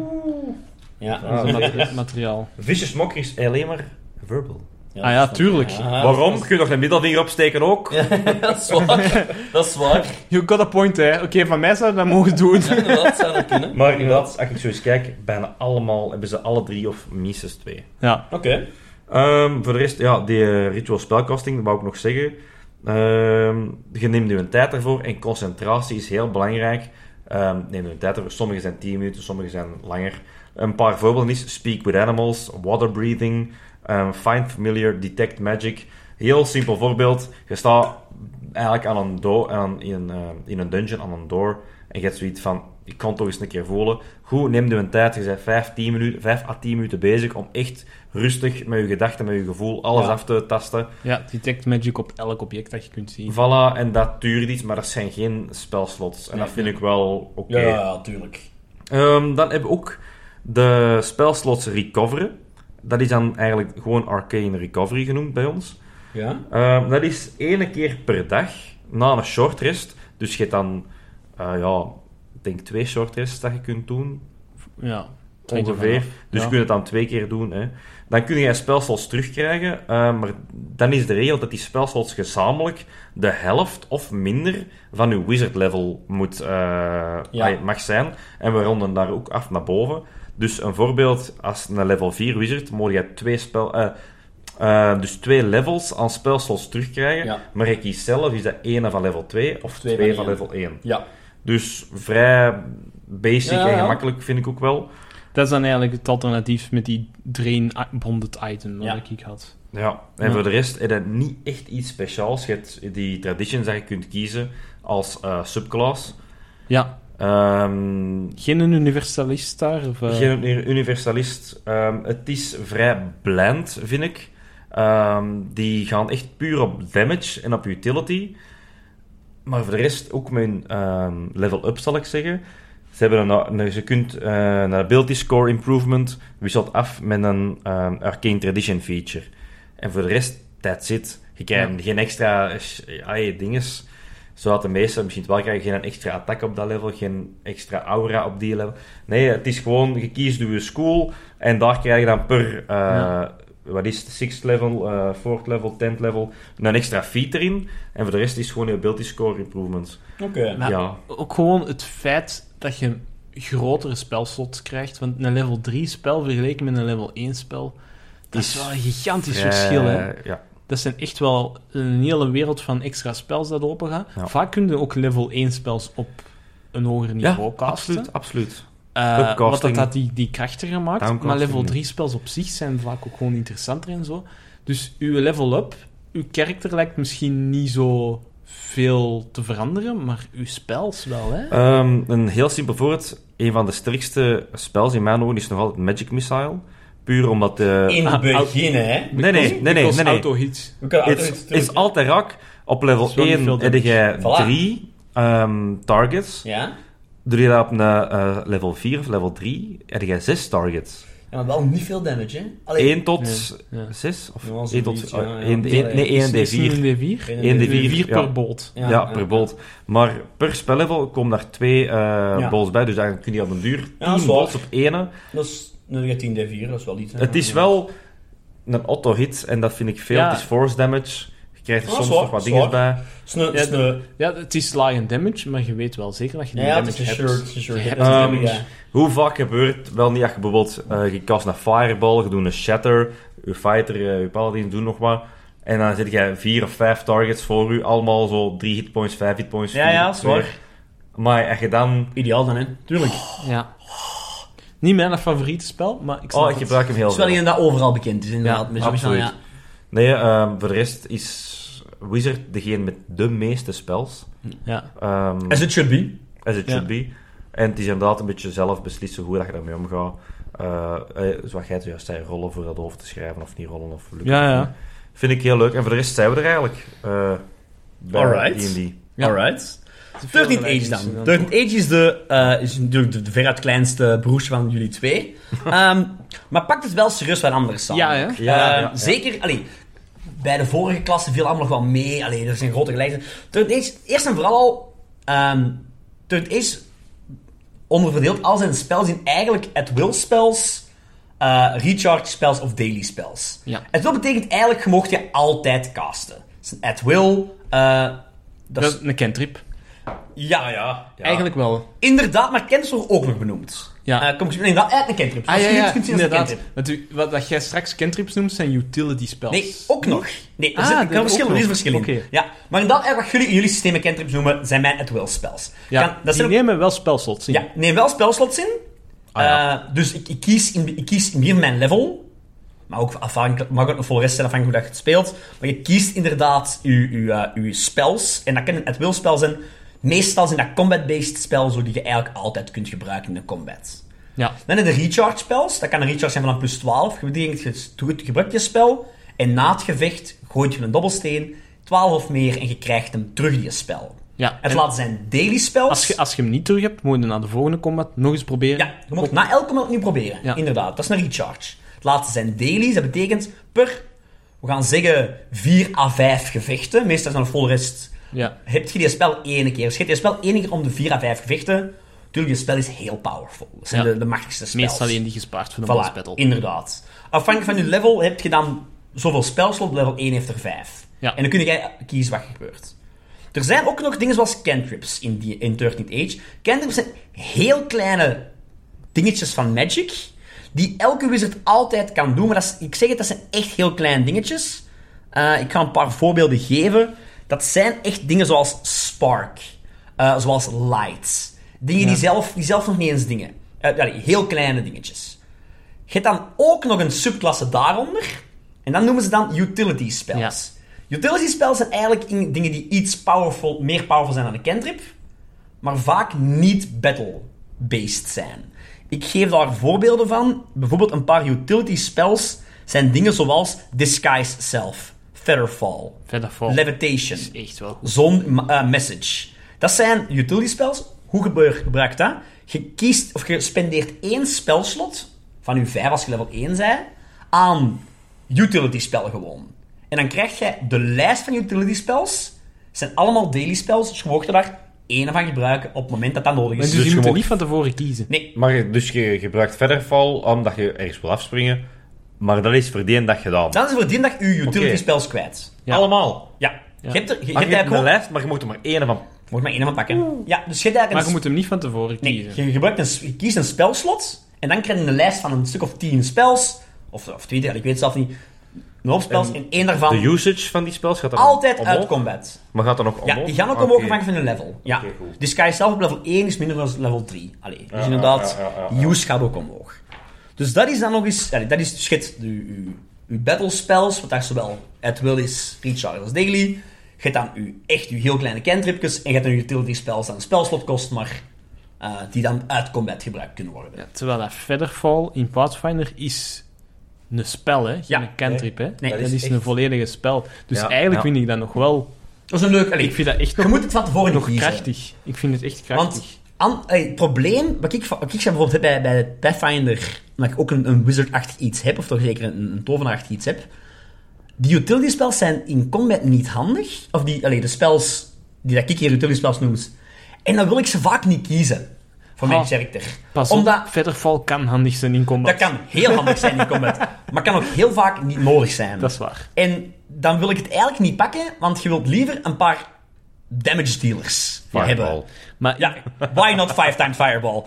Ja. Ah, Dat is oké. mater- materiaal. Vicious Mocker is alleen maar verbal. Ah ja, tuurlijk. Waarom? Kun je nog een middelvinger opsteken ook? Ja, dat is waar. dat is waar. You got a point, hè. Oké, van mij zou je dat mogen doen. Ja, inderdaad, zou dat kunnen. Maar inderdaad, als ik zo eens kijk, bijna allemaal hebben ze alle drie of minstens twee. Ja, Oké. Ehm, voor de rest, ja, die eh, ritual spelcasting, dat wou ik nog zeggen. Ehm, je neemt nu een tijd ervoor en concentratie is heel belangrijk. Ehm neem nu een tijd ervoor. Sommige zijn 10 minuten, sommige zijn langer. Een paar voorbeelden is speak with animals, water breathing, ehm, find familiar, detect magic. Heel simpel voorbeeld. Je staat eigenlijk aan een door, aan, in, een, ehm, in een dungeon aan een door en je hebt zoiets van, ik kan het toch eens een keer voelen. Goed, neem je een tijd. Je bent 5, 10 minuten, 5 à 10 minuten bezig om echt rustig met je gedachten, met je gevoel, alles Ja. af te tasten. ja, detect magic op elk object dat je kunt zien. Voilà, en dat duurt iets, maar dat zijn geen spelslots. En Nee. dat vind ik wel oké. Ja, ja, tuurlijk. Ehm, dan hebben we ook de spelslots recoveren. Dat is dan eigenlijk gewoon arcane recovery genoemd bij ons. Ja. Ehm, dat is ene keer per dag na een short rest. Dus je hebt dan, eh, ja, ik denk twee short rests dat je kunt doen. Ja. Hangt ervan Ongeveer. af. Dus Ja. je kunt het dan twee keer doen. Hè. Dan kun je spelslots terugkrijgen. eh, maar dan is de regel dat die spelslots gezamenlijk de helft of minder van je wizard level moet, eh, ai, mag zijn. En we ronden daar ook af naar boven. Dus een voorbeeld, als een level 4 wizard, moet je twee spel... eh, eh, dus twee levels aan spelslots terugkrijgen. Ja. Maar je kiest zelf, is dat één van level 2 of Twee twee, van van, één. level 1. Ja. Dus vrij basic Ja, ja. en gemakkelijk vind ik ook wel. Dat is dan eigenlijk het alternatief met die drain-bonded item dat Ja. ik had. Ja, en Ja. voor de rest is dat niet echt iets speciaals. Je hebt die traditions dat je kunt kiezen als eh, subclass. Ja, Ehm geen een universalist daar? Of, eh, geen universalist. Ehm, het is vrij bland, vind ik. Ehm, die gaan echt puur op damage en op utility. Maar voor de rest ook mijn ehm, level up, zal ik zeggen. Ze hebben een, een- ze kunt eh, een ability score improvement wisselt af met een ehm, arcane tradition feature. En voor de rest, that's it. Je krijgt geen extra eh, sh- ai, dinges. Zodat de meesten misschien wel krijgen. Geen extra attack op dat level, geen extra aura op die level. Nee, het is gewoon, je kiest je school en daar krijg je dan per, eh, Ja. wat is het, sixth level, eh fourth level, tenth level, een extra feature in. En voor de rest is gewoon je ability score improvements. Oké. Maar Ja. Ook gewoon het feit dat je grotere spelslots krijgt. Want een level 3 spel vergeleken met een level 1 spel, dat is Is wel een gigantisch verschil. Hè? Eh, ja. Dat zijn echt wel een hele wereld van extra spels dat open gaat. Ja. Vaak kun je ook level 1 spels op een hoger niveau casten. absoluut, absoluut. Eh, Upcasting. wat dat had die, die krachtiger maakt. Maar Downcasting. level 3 spels op zich zijn vaak ook gewoon interessanter en zo. Dus uw level up, uw karakter lijkt misschien niet zo veel te veranderen, maar uw spels wel, hè? Ehm, een heel simpel voorbeeld. Een van de sterkste spels in mijn ogen is nog altijd Magic Missile. Puur omdat... eh, In het ah, ah, begin, hè? nee, nee, nee, nee, nee, nee. auto-hits. We kunnen altijd Het terug- is altijd rak. Op level Is wel niet 1 veel heb je Voilà. drie ehm, targets. Ja? Doe je dat op een, eh, level 4 of level 3, heb je zes targets. ja, maar wel niet veel damage, hè? Alleen 1 tot Ja. 6? Of Ja, 1 tot... zoiets, ja, ja. 1, Ja, ja. nee, 1 Is het D4. een D4? Eén Eén D4, D4, D4 ja. per bolt. Ja, per bolt. Maar per spellevel komen daar twee eh bolts bij, dus dan kun je op een duur 10 Ja, dat is waar. bolts op ene. Dat is nou, ja, 10 d 4, dat is wel iets. hè. Het is wel een auto-hit en dat vind ik veel. Ja. Het is force damage. Je krijgt er Ja, soms zwaar, nog wat dingen zwaar. bij. Het is een- het Ja, is een- Ja, het is lie and damage, maar je weet wel zeker dat je Ja, die ja, het damage is een hebt. shirt. Het is een shirt. Je hebt Ja, damage. ja. Hoe vaak gebeurt het wel niet dat je bijvoorbeeld eh, je kast naar Fireball, je doet een Shatter, je Fighter, eh, je Paladin doen nog wat. En dan zit jij vier of vijf targets voor u, allemaal zo drie hitpoints, vijf hitpoints. Ja, vier, ja, twee. zwaar. Maar als je dan... Ideaal dan, hè? Tuurlijk. Ja. Niet mijn favoriete spel, maar ik snap Oh, ik het. gebruik hem heel Het is wel veel. een dat overal bekend is, inderdaad. Dus Ja, Met zo'n absoluut. bestaan, Nee, ehm, voor de rest is Wizard degene met de meeste spels. Ja. Ehm, ja. As it should be. as it Ja. should be. En het is inderdaad een beetje zelf beslissen hoe dat je daarmee omgaat. Eh, eh, zoals jij het juist zei, rollen voor dat over te schrijven of niet rollen of lukken. Ja, of ja. niet. Vind ik heel leuk. En voor de rest zijn we er eigenlijk. eh bij Alright. D&D. Ja. Alright. 13 Age dan. 13 Age is, de, eh, is natuurlijk de, de veruit kleinste broertje van jullie twee. Ehm, maar pakt het wel serieus wat anders aan. Ja, hè? Eh, Ja, ja. Zeker, allee, bij de vorige klasse viel allemaal nog wel mee. Allee, er zijn grote gelijkenissen. 13 Age, eerst en vooral al... ehm 13 Age onderverdeelt al zijn spels in eigenlijk at-will spells, eh, recharge spells of daily spells. Ja. At-will betekent eigenlijk, je mocht je altijd casten. Dus een at-will... eh, dat Dat is, is een cantrip. ja, ja. Eigenlijk wel. Inderdaad, maar kennis wordt ook nog benoemd. Ja. Eh, kom ik inderdaad uit een cantrip. Ah, Als ja, je ja, iets kunt zien als een inderdaad. cantrip. Want u- wat dat jij straks cantrips noemt, zijn utility spells. Nee, ook nog. Nee, er, Ah, zit, er, dat kan ook verschil, er nog. is verschil in. Oké. Ja, maar inderdaad, eh, wat jullie in jullie systemen cantrips noemen, zijn mijn at-will spells. Ja, Kan- dat die zijn ook- nemen wel spelslots in. ja, neem wel spelslots in. Ah, ja. Eh, dus ik, ik kies in, ik kies in meer mijn level. Maar ook afhankelijk, mag ook nog voor de rest zijn afhankelijk hoe dat je het speelt. Maar je kiest inderdaad je, je, eh, je spels. En dat kan een at-will spel zijn. Meestal zijn dat combat-based spel, zo die je eigenlijk altijd kunt gebruiken in de combat. Ja. Dan heb je de recharge spells. Dat kan een recharge zijn van een plus 12. Dat betekent, je doet- je gebruikt je spel. En na het gevecht gooit je een dobbelsteen. 12 of meer. En je krijgt hem terug, je spel. ja. Het En laat zijn daily spells. als, je, als je hem niet terug hebt, moet je naar de volgende combat nog eens proberen. Ja, je moet na elke maand opnieuw proberen. Ja. Inderdaad, dat is een recharge. Het laatste zijn dailies. Dat betekent per, we gaan zeggen, 4 à 5 gevechten. Meestal is dan vol rest. Ja. Heb je die spel één keer? Dus je hebt die spel één keer om de 4 à 5 gevechten. Natuurlijk, je spel is heel powerful. Dat zijn Ja. de, de machtigste spells. Meestal alleen die gespaard voor de boss Voilà, battle. inderdaad. Afhankelijk van je level heb je dan zoveel spelslot. Level 1 heeft er 5. Ja. En dan kun je kiezen wat er gebeurt. Er zijn ook nog dingen zoals cantrips in, die, in 13th Age. Cantrips zijn heel kleine dingetjes van Magic. Die elke wizard altijd kan doen. Maar dat is, ik zeg het, dat zijn echt heel kleine dingetjes. Eh, ik ga een paar voorbeelden geven. Dat zijn echt dingen zoals spark. eh, zoals light. Dingen die, zelf, die zelf nog niet eens dingen. eh, allee, heel kleine dingetjes. Je hebt dan ook nog een subklasse daaronder. En dan noemen ze dan utility spells. Utility spells zijn eigenlijk in- dingen die iets powerful, meer powerful zijn dan een cantrip. Maar vaak niet battle-based zijn. Ik geef daar voorbeelden van. Bijvoorbeeld een paar utility spells zijn dingen zoals Disguise Self, Featherfall, Verder voor. Levitation, is echt wel goed. Zon ma- eh, Message. Dat zijn utility spells. Hoe gebeur, gebruikt dat? Je kiest of je spendeert één spelslot van je 5 als je level 1 bent aan utility spellen gewoon. En dan krijg je de lijst van utility spells. Het zijn allemaal daily spells, dus je mag er daar één van gebruiken op het moment dat dat nodig En is. dus, je je moet er mag- niet van tevoren kiezen. Nee, Maar je- dus je gebruikt verder val omdat je ergens wil afspringen. Maar dat is voor die en dag gedaan. dan is voor die dag je utility Oké. spells kwijt. Ja. Allemaal. Ja, je hebt er, je, Maar hebt je hebt eigenlijk een gewoon... lijst, maar je moet er maar één van. Moet maar één van pakken. Ja, dus je hebt eigenlijk Maar een je moet hem niet van tevoren Nee, kiezen. je, gebruikt een, s- je kiest een spelslot en dan krijg je een lijst van een stuk of tien spels, of, of twintig, ik weet het zelf niet. Een hoop spels en één daarvan De usage van die spels gaat er altijd omhoog, uit combat. Maar gaat er nog Ja, omhoog? die gaan ook Ah, omhoog oké. afhankelijk van hun level. Ja. Oké, goed. dus Sky zelf op level 1 is minder dan level 3. Allee, dus inderdaad, ja, ja, ja, ja. use gaat ook omhoog. Dus dat is dan nog eens, allee, dat is dus je hebt uw, uw, uw battle spells, wat daar zowel at will is, recharge als daily. Je hebt dan je, echt je heel kleine cantripjes en je hebt dan je utility spells dat een spelslot kost, maar eh, die dan uit combat gebruikt kunnen worden. Ja, terwijl dat Featherfall in Pathfinder is een spel, hè? Geen Ja. cantrip, hè? Nee, dat dat, is is echt- een volledige spel. Dus Ja, eigenlijk ja. vind ik dat nog wel... Dat is een leuk... allee, Ik vind dat echt nog, je moet het wat voor nog kiezen. krachtig. Ik vind het echt krachtig. Want an- eh, het probleem, wat ik, van- wat ik zei bijvoorbeeld heb bij, bij Pathfinder, omdat ik ook een, een wizard-achtig iets heb, of toch zeker een, een tovenaarachtig iets heb, die utility spells zijn in combat niet handig. Of die, allee, de spells die dat ik hier utility spells noem. En dan wil ik ze vaak niet kiezen voor mijn Ah, character. Pas Omdat op, Featherfall kan handig zijn in combat. dat kan heel handig zijn in combat, maar kan ook heel vaak niet nodig zijn. Dat is waar. En dan wil ik het eigenlijk niet pakken, want je wilt liever een paar damage dealers hebben. Fireball. Maar, Ja, why not five times fireball?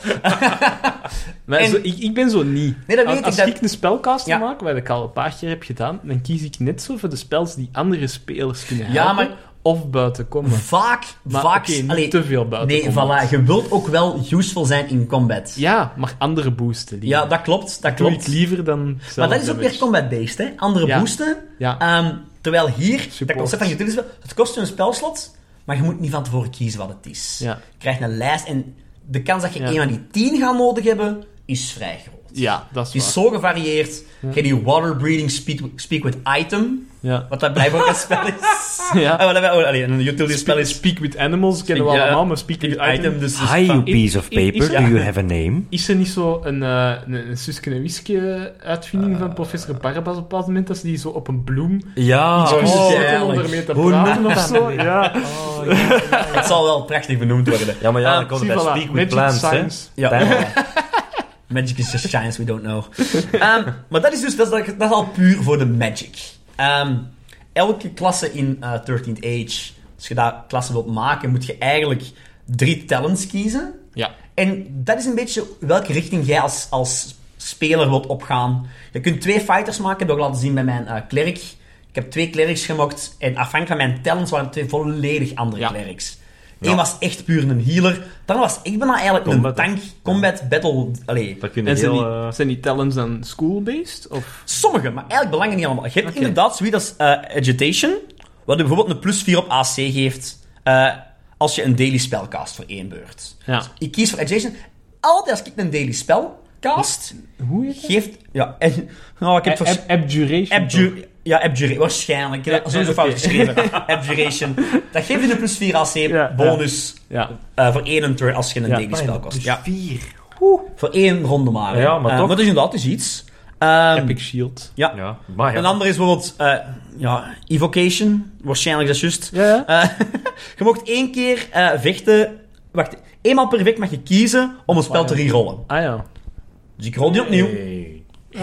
maar en- zo- ik, ik ben zo niet. Nee, dat Als- weet Als ik, dat- ik een spelcaster Ja. maak, wat ik al een paar keer heb gedaan, dan kies ik net zo voor de spels die andere spelers kunnen Ja, helpen. Of buiten combat. Vaak, Maar vaak... oké, niet allee, te veel buiten Nee, combat. voilà. Je wilt ook wel useful zijn in combat. Ja, Ja, maar andere boosten. die- dat klopt. Dat doe ik klopt. liever dan zelf Maar dat is ook damage. weer combat-based, hè. Andere Ja. boosten. Ja. Ehm, terwijl hier, dat Support. concept van utility spell, het kost je een spelslot, maar je moet niet van tevoren kiezen wat het is. Ja. Je krijgt een lijst en de kans dat je Ja. één van die tien gaat nodig hebben, is vrij groot. Ja, dat is Het is waar. zo gevarieerd. Je hebt die water breathing speak, speak with item, Ja. wat dat blijkbaar ook een spel is. ja. Ah, wat dat wij- oh, allee, een utility spel is Speak with animals kennen we Ja. allemaal, maar speak with item, item. dus dus Hi, you van- piece of i- i- paper. is- Do you have a name? Is er niet zo een, eh een, een Suske en Wiske uitvinding Eh. van professor Barbas op een bepaald moment, dat ze die zo op een bloem Ja. oh, oh, zetten om heerlijk. ermee te Hoe praten noemt of dat zo? nu? Oh, Ja, Het zal wel prachtig benoemd worden. Ja, maar ja, dan Ah, komt zie, het bij voilà. Speak with Magic Plants, hè. Science. Ja. Damn. Magic is just science we don't know. Ehm, maar dat is dus dat is, dat is al puur voor de magic. Ehm, elke klasse in eh 13th Age, als je daar klassen wilt maken, moet je eigenlijk drie talents kiezen. Ja. En dat is een beetje welke richting jij als, als speler wilt opgaan. Je kunt twee fighters maken, dat heb ik laten zien bij mijn eh klerk. Ik heb twee clerics gemaakt en afhankelijk van mijn talents waren het twee volledig andere Ja. clerics. Eén was echt puur een healer, dan was ik bijna eigenlijk Combat, een hè? tank, combat, battle, allee, Dat kunnen En zijn die, heel... eh, zijn die talents dan school-based? Of? Sommige, maar eigenlijk belangen niet allemaal. Je hebt inderdaad zoiets als eh, agitation, wat je bijvoorbeeld een plus 4 op AC geeft eh, als je een daily spel cast voor één beurt. Dus Ja. Ik kies voor agitation. Altijd als ik een daily spel cast, Hoe heet dat? geeft... Ja, en, nou, ik heb het Ab- abjuration. toch? Abjur ja, abjuration, waarschijnlijk. Ik heb dat Ja, sowieso oké. fout geschreven. abjuration. Dat geeft je een plus 4 AC Ja, bonus Ja. eh, voor één turn als je een Ja, daily spel cast. dus Ja, vier. voor één ronde maar. Ja, maar Eh, toch. Maar dat is inderdaad dus iets. Ehm, Epic Shield. ja, Ja, maar ja. Een ander is bijvoorbeeld eh, ja, Evocation. Waarschijnlijk is dat juist. Ja, ja. Eh, je mag één keer eh, vechten. Wacht, eenmaal per week mag je kiezen om een spel te rerollen. Ah ja. Dus ik rol die opnieuw. Hey.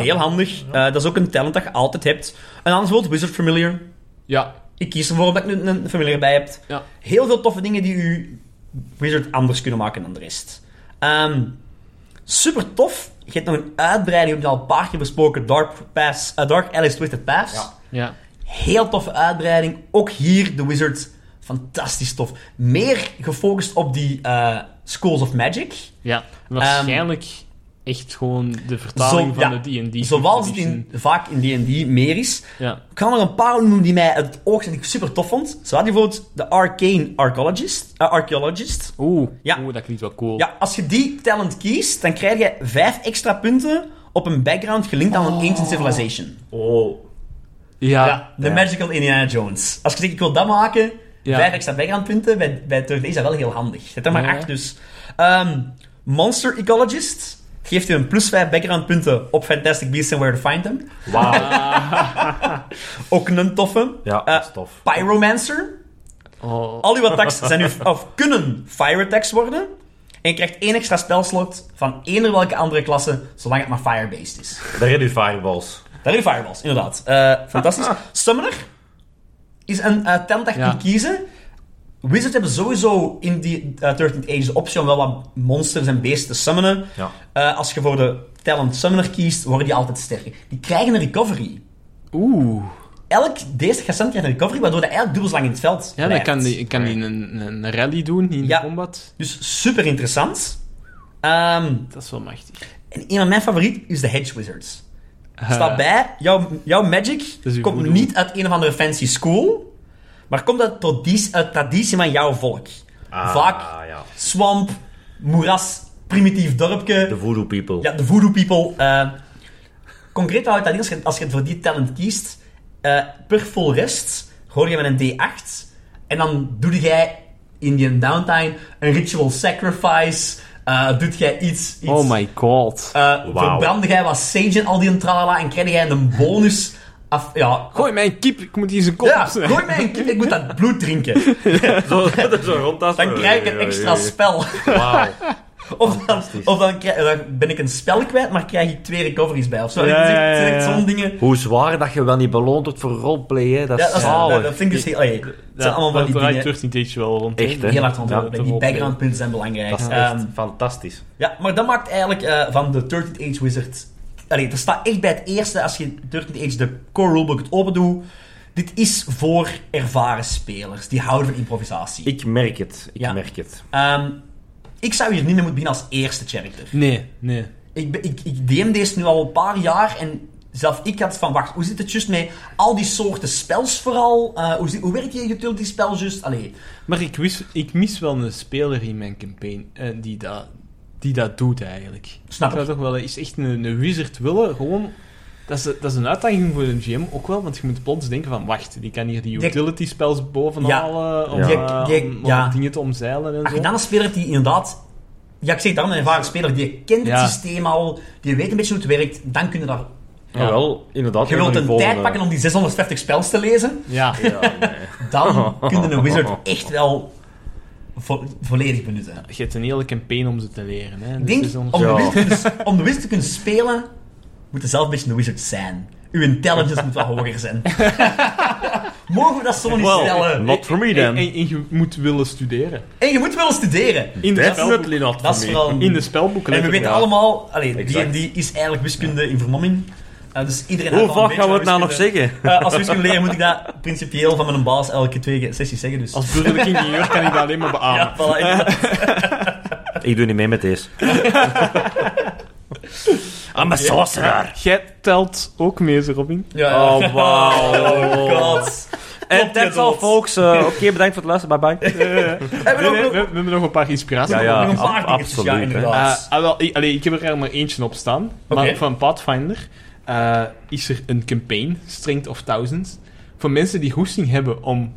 Heel handig. Eh, dat is ook een talent dat je altijd hebt. Een ander is bijvoorbeeld Wizard Familiar. Ja. Ik kies ervoor omdat ik een, een familiar bij heb. Ja. Heel veel toffe dingen die u Wizard anders kunnen maken dan de rest. Ehm, super tof. Je hebt nog een uitbreiding, we hebben het al een paar keer besproken. Dark, Pass, eh, Dark Alice Twisted Paths. Ja. Heel toffe uitbreiding. Ook hier de Wizards. Fantastisch tof. Meer gefocust op die eh, Schools of Magic. Ja. Waarschijnlijk echt gewoon de vertaling Zo- van ja. de D&D. Zoals het in, edition. vaak in D&D meer is. Ja. Ik kan er een paar noemen die mij uit het oog zijn die ik super tof vond. Zo had je bijvoorbeeld de Arcane Archaeologist. eh, archaeologist. Oeh. Ja. Oeh, dat klinkt wel cool. Ja, als je die talent kiest, dan krijg je vijf extra punten op een background gelinkt aan een Ancient Civilization. Oh. Ja. Ja, de Magical Indiana Jones. Als je zegt, ik wil dat maken, Ja. vijf extra backgroundpunten, bij, bij Turtle is dat wel heel handig. Zet er maar Ja. acht dus. Ehm, Monster Ecologist geeft u een plus vijf backgroundpunten op Fantastic Beasts and Where to Find Them. Wauw. Eh. Ook een toffe. Ja, Eh, dat is tof. Pyromancer. Oh. Al uw attacks zijn nu, of kunnen fire attacks worden. En je krijgt één extra spelslot van eender welke andere klasse, zolang het maar fire-based is. Daar heb je fireballs. Daar in Fireballs, inderdaad. Eh, fantastisch. Summoner is een eh talent dat je Ja. kunt kiezen. Wizards hebben sowieso in die eh, 13th Age de optie om wel wat monsters en beesten te summonen. Ja. Eh, als je voor de talent Summoner kiest, worden die altijd sterker. Die krijgen een recovery. Oeh. Elk deze gestend krijgt een recovery, waardoor dat eigenlijk dubbel zo lang in het veld Ja, dan blijft. kan die, kan die een, een rally doen in Ja. de combat. Dus super interessant. Ehm, Dat is wel machtig. en een van mijn favoriet is de Hedge Wizards. Staat bij, jouw, jouw magic Eh. is uw komt voodoo. niet uit een of andere fancy school, Maar komt dat traditie, uit traditie van jouw volk? Ah, Vaak. ja. Swamp, moeras, primitief dorpje. De voodoo people. Ja, de voodoo people. eh, concreet houdt dat in, als je, als je het voor die talent kiest, eh, per full rest hoor je met een D8. En dan doe jij in die downtime een ritual sacrifice. eh doet jij iets... iets Oh my god. eh, Wauw. Verbrandde jij wat sage en al die en tralala en krijg jij een bonus... Af, ja, Gooi mijn kip, ik moet hier zijn kop ja, opsnijden. gooi mij een kip, ik moet dat bloed drinken. Zo, zo rondtasten. Dan krijg ik een extra spel. Wauw. Of dan, of dan, krijg- dan ben ik een spel kwijt, maar krijg ik twee recoveries bij. Of zo. Ja, Het is echt- ja, ja, het zijn echt ja. zo'n dingen. Hoe zwaar dat je wel niet beloond wordt voor roleplay, hè? Dat is Ja, dat, is, zalig. dat, dat vind ik dus heel... allee, het zijn allemaal van die draait dingen. 13 Age wel rond. Echt, hè? Heel hard rond. Ja, die dat is wel background punten zijn belangrijk. Dat is Ehm, echt fantastisch. ja, maar dat maakt eigenlijk eh, van de 13th Age Wizard... Allee, dat staat echt bij het eerste, als je 13th Age de core rulebook het open doet. Dit is voor ervaren spelers. Die houden van improvisatie. Ik merk het. Ik Ja. merk het. Ehm, ik zou hier niet mee moeten beginnen als eerste character. Nee, nee. Ik, ben- ik, ik DM deze nu al een paar jaar en zelf ik had van, wacht, hoe zit het juist met al die soorten spels vooral? Eh, hoe, zit- hoe werkt je utility spel juist? Allee, Maar ik, wist, ik mis wel een speler in mijn campaign eh, die, dat, die dat doet eigenlijk. Snap ik. zou toch wel eh, is echt een, een wizard willen, gewoon... Dat is, dat is een uitdaging voor een GM ook wel, want je moet plots denken van, wacht, die kan hier die Die- utility spells bovenhalen, om, Ja. Die- eh, die- om, om ja. dingen te omzeilen en als zo. je dan een speler hebt die inderdaad, ja ik zeg daarom een ervaren speler, die kent Ja. het systeem al, die weet een beetje hoe het werkt, dan kun je daar... Ja. Ja. wel, inderdaad. Je een wilt van die een tijd volgende- eh. pakken om die 650 spels te lezen, Ja, eh, Ja, nee. dan kun je een wizard echt wel vo- volledig benutten. je hebt een hele campaign om ze te leren. Hè. Ik Dus denk, het is om ons- de, Ja. wizard, te kunnen- om de wizard te kunnen spelen, moet je zelf een beetje een wizard zijn. Uw intelligence moet wat hoger zijn. Mogen we dat zo niet Well, stellen? not for me en, eh, then. en je moet willen studeren. En je moet wel studeren. In de, spelboek, Definitely not for eh, Dat is me. vooral... in de spelboeken. en we weten allemaal... Allee, Exact. D&D is eigenlijk wiskunde in vermomming. Eh, dus iedereen Hoe heeft al een vaak gaan we het beetje nou wat nog wiskunde. zeggen? Eh, als we wiskunde leren, moet ik dat principieel van mijn baas elke twee sessies zeggen. Dus. Als burgerlijk ingenieur kan ik dat alleen maar beamen. ja, voilà, inderdaad. Ik doe niet mee met deze. I'm a sorcerer. Jij telt ook mee, ze, Robin. Ja, ja. Oh, wow. Oh, god. En that's all, Klopt. folks. Eh, Oké, bedankt voor het luisteren. Bye-bye. Hebben we Nee, nee, nog- we, we hebben nog een paar inspiraties. Ja, nog ja. een paar ab- dingetjes, absoluut, ja, hè. inderdaad. Eh, ah, wel, ik, allee, ik heb er eigenlijk maar eentje op staan. Oké. Maar van Pathfinder eh, is er een campaign, Strength of Thousands, voor mensen die goesting hebben om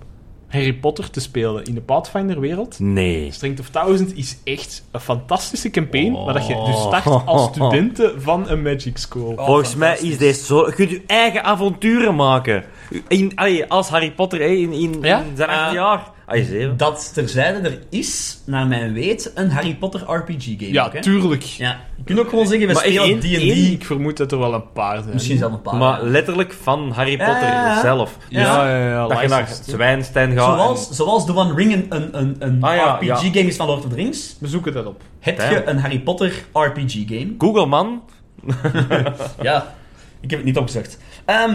Harry Potter te spelen in de Pathfinder-wereld. Nee. Strength of Thousand is echt een fantastische campaign, Oh. maar dat je dus start als studenten van een magic school. Oh, Volgens mij fantastisch. is deze zo... Je kunt je eigen avonturen maken. In, allee, als Harry Potter, hè, in, in, Ja? in zijn acht Eh, jaar. Ah, Allee, zeven. Dat terzijde, er is, naar mijn weet, een Harry Potter RPG-game. Ja, ook, hè? tuurlijk. Ja, je kunt ook gewoon zeggen, we Maar spelen één- Eén, D&D. ik vermoed dat er wel een paar zijn. Misschien zelf een paar. Maar letterlijk van Harry Ja, Potter ja, ja. zelf. Ah, Ja. Ja, ja, ja. Dat je naar licensed. Zwijnstein gaat. zoals, zoals The One Ring een, een, een, een Ah, ja, ja. RPG-game is van Lord of the Rings, We zoeken dat op. heb Ja. je een Harry Potter RPG-game. en- Google, man. Ja, ik heb het niet opgezegd. Ehm,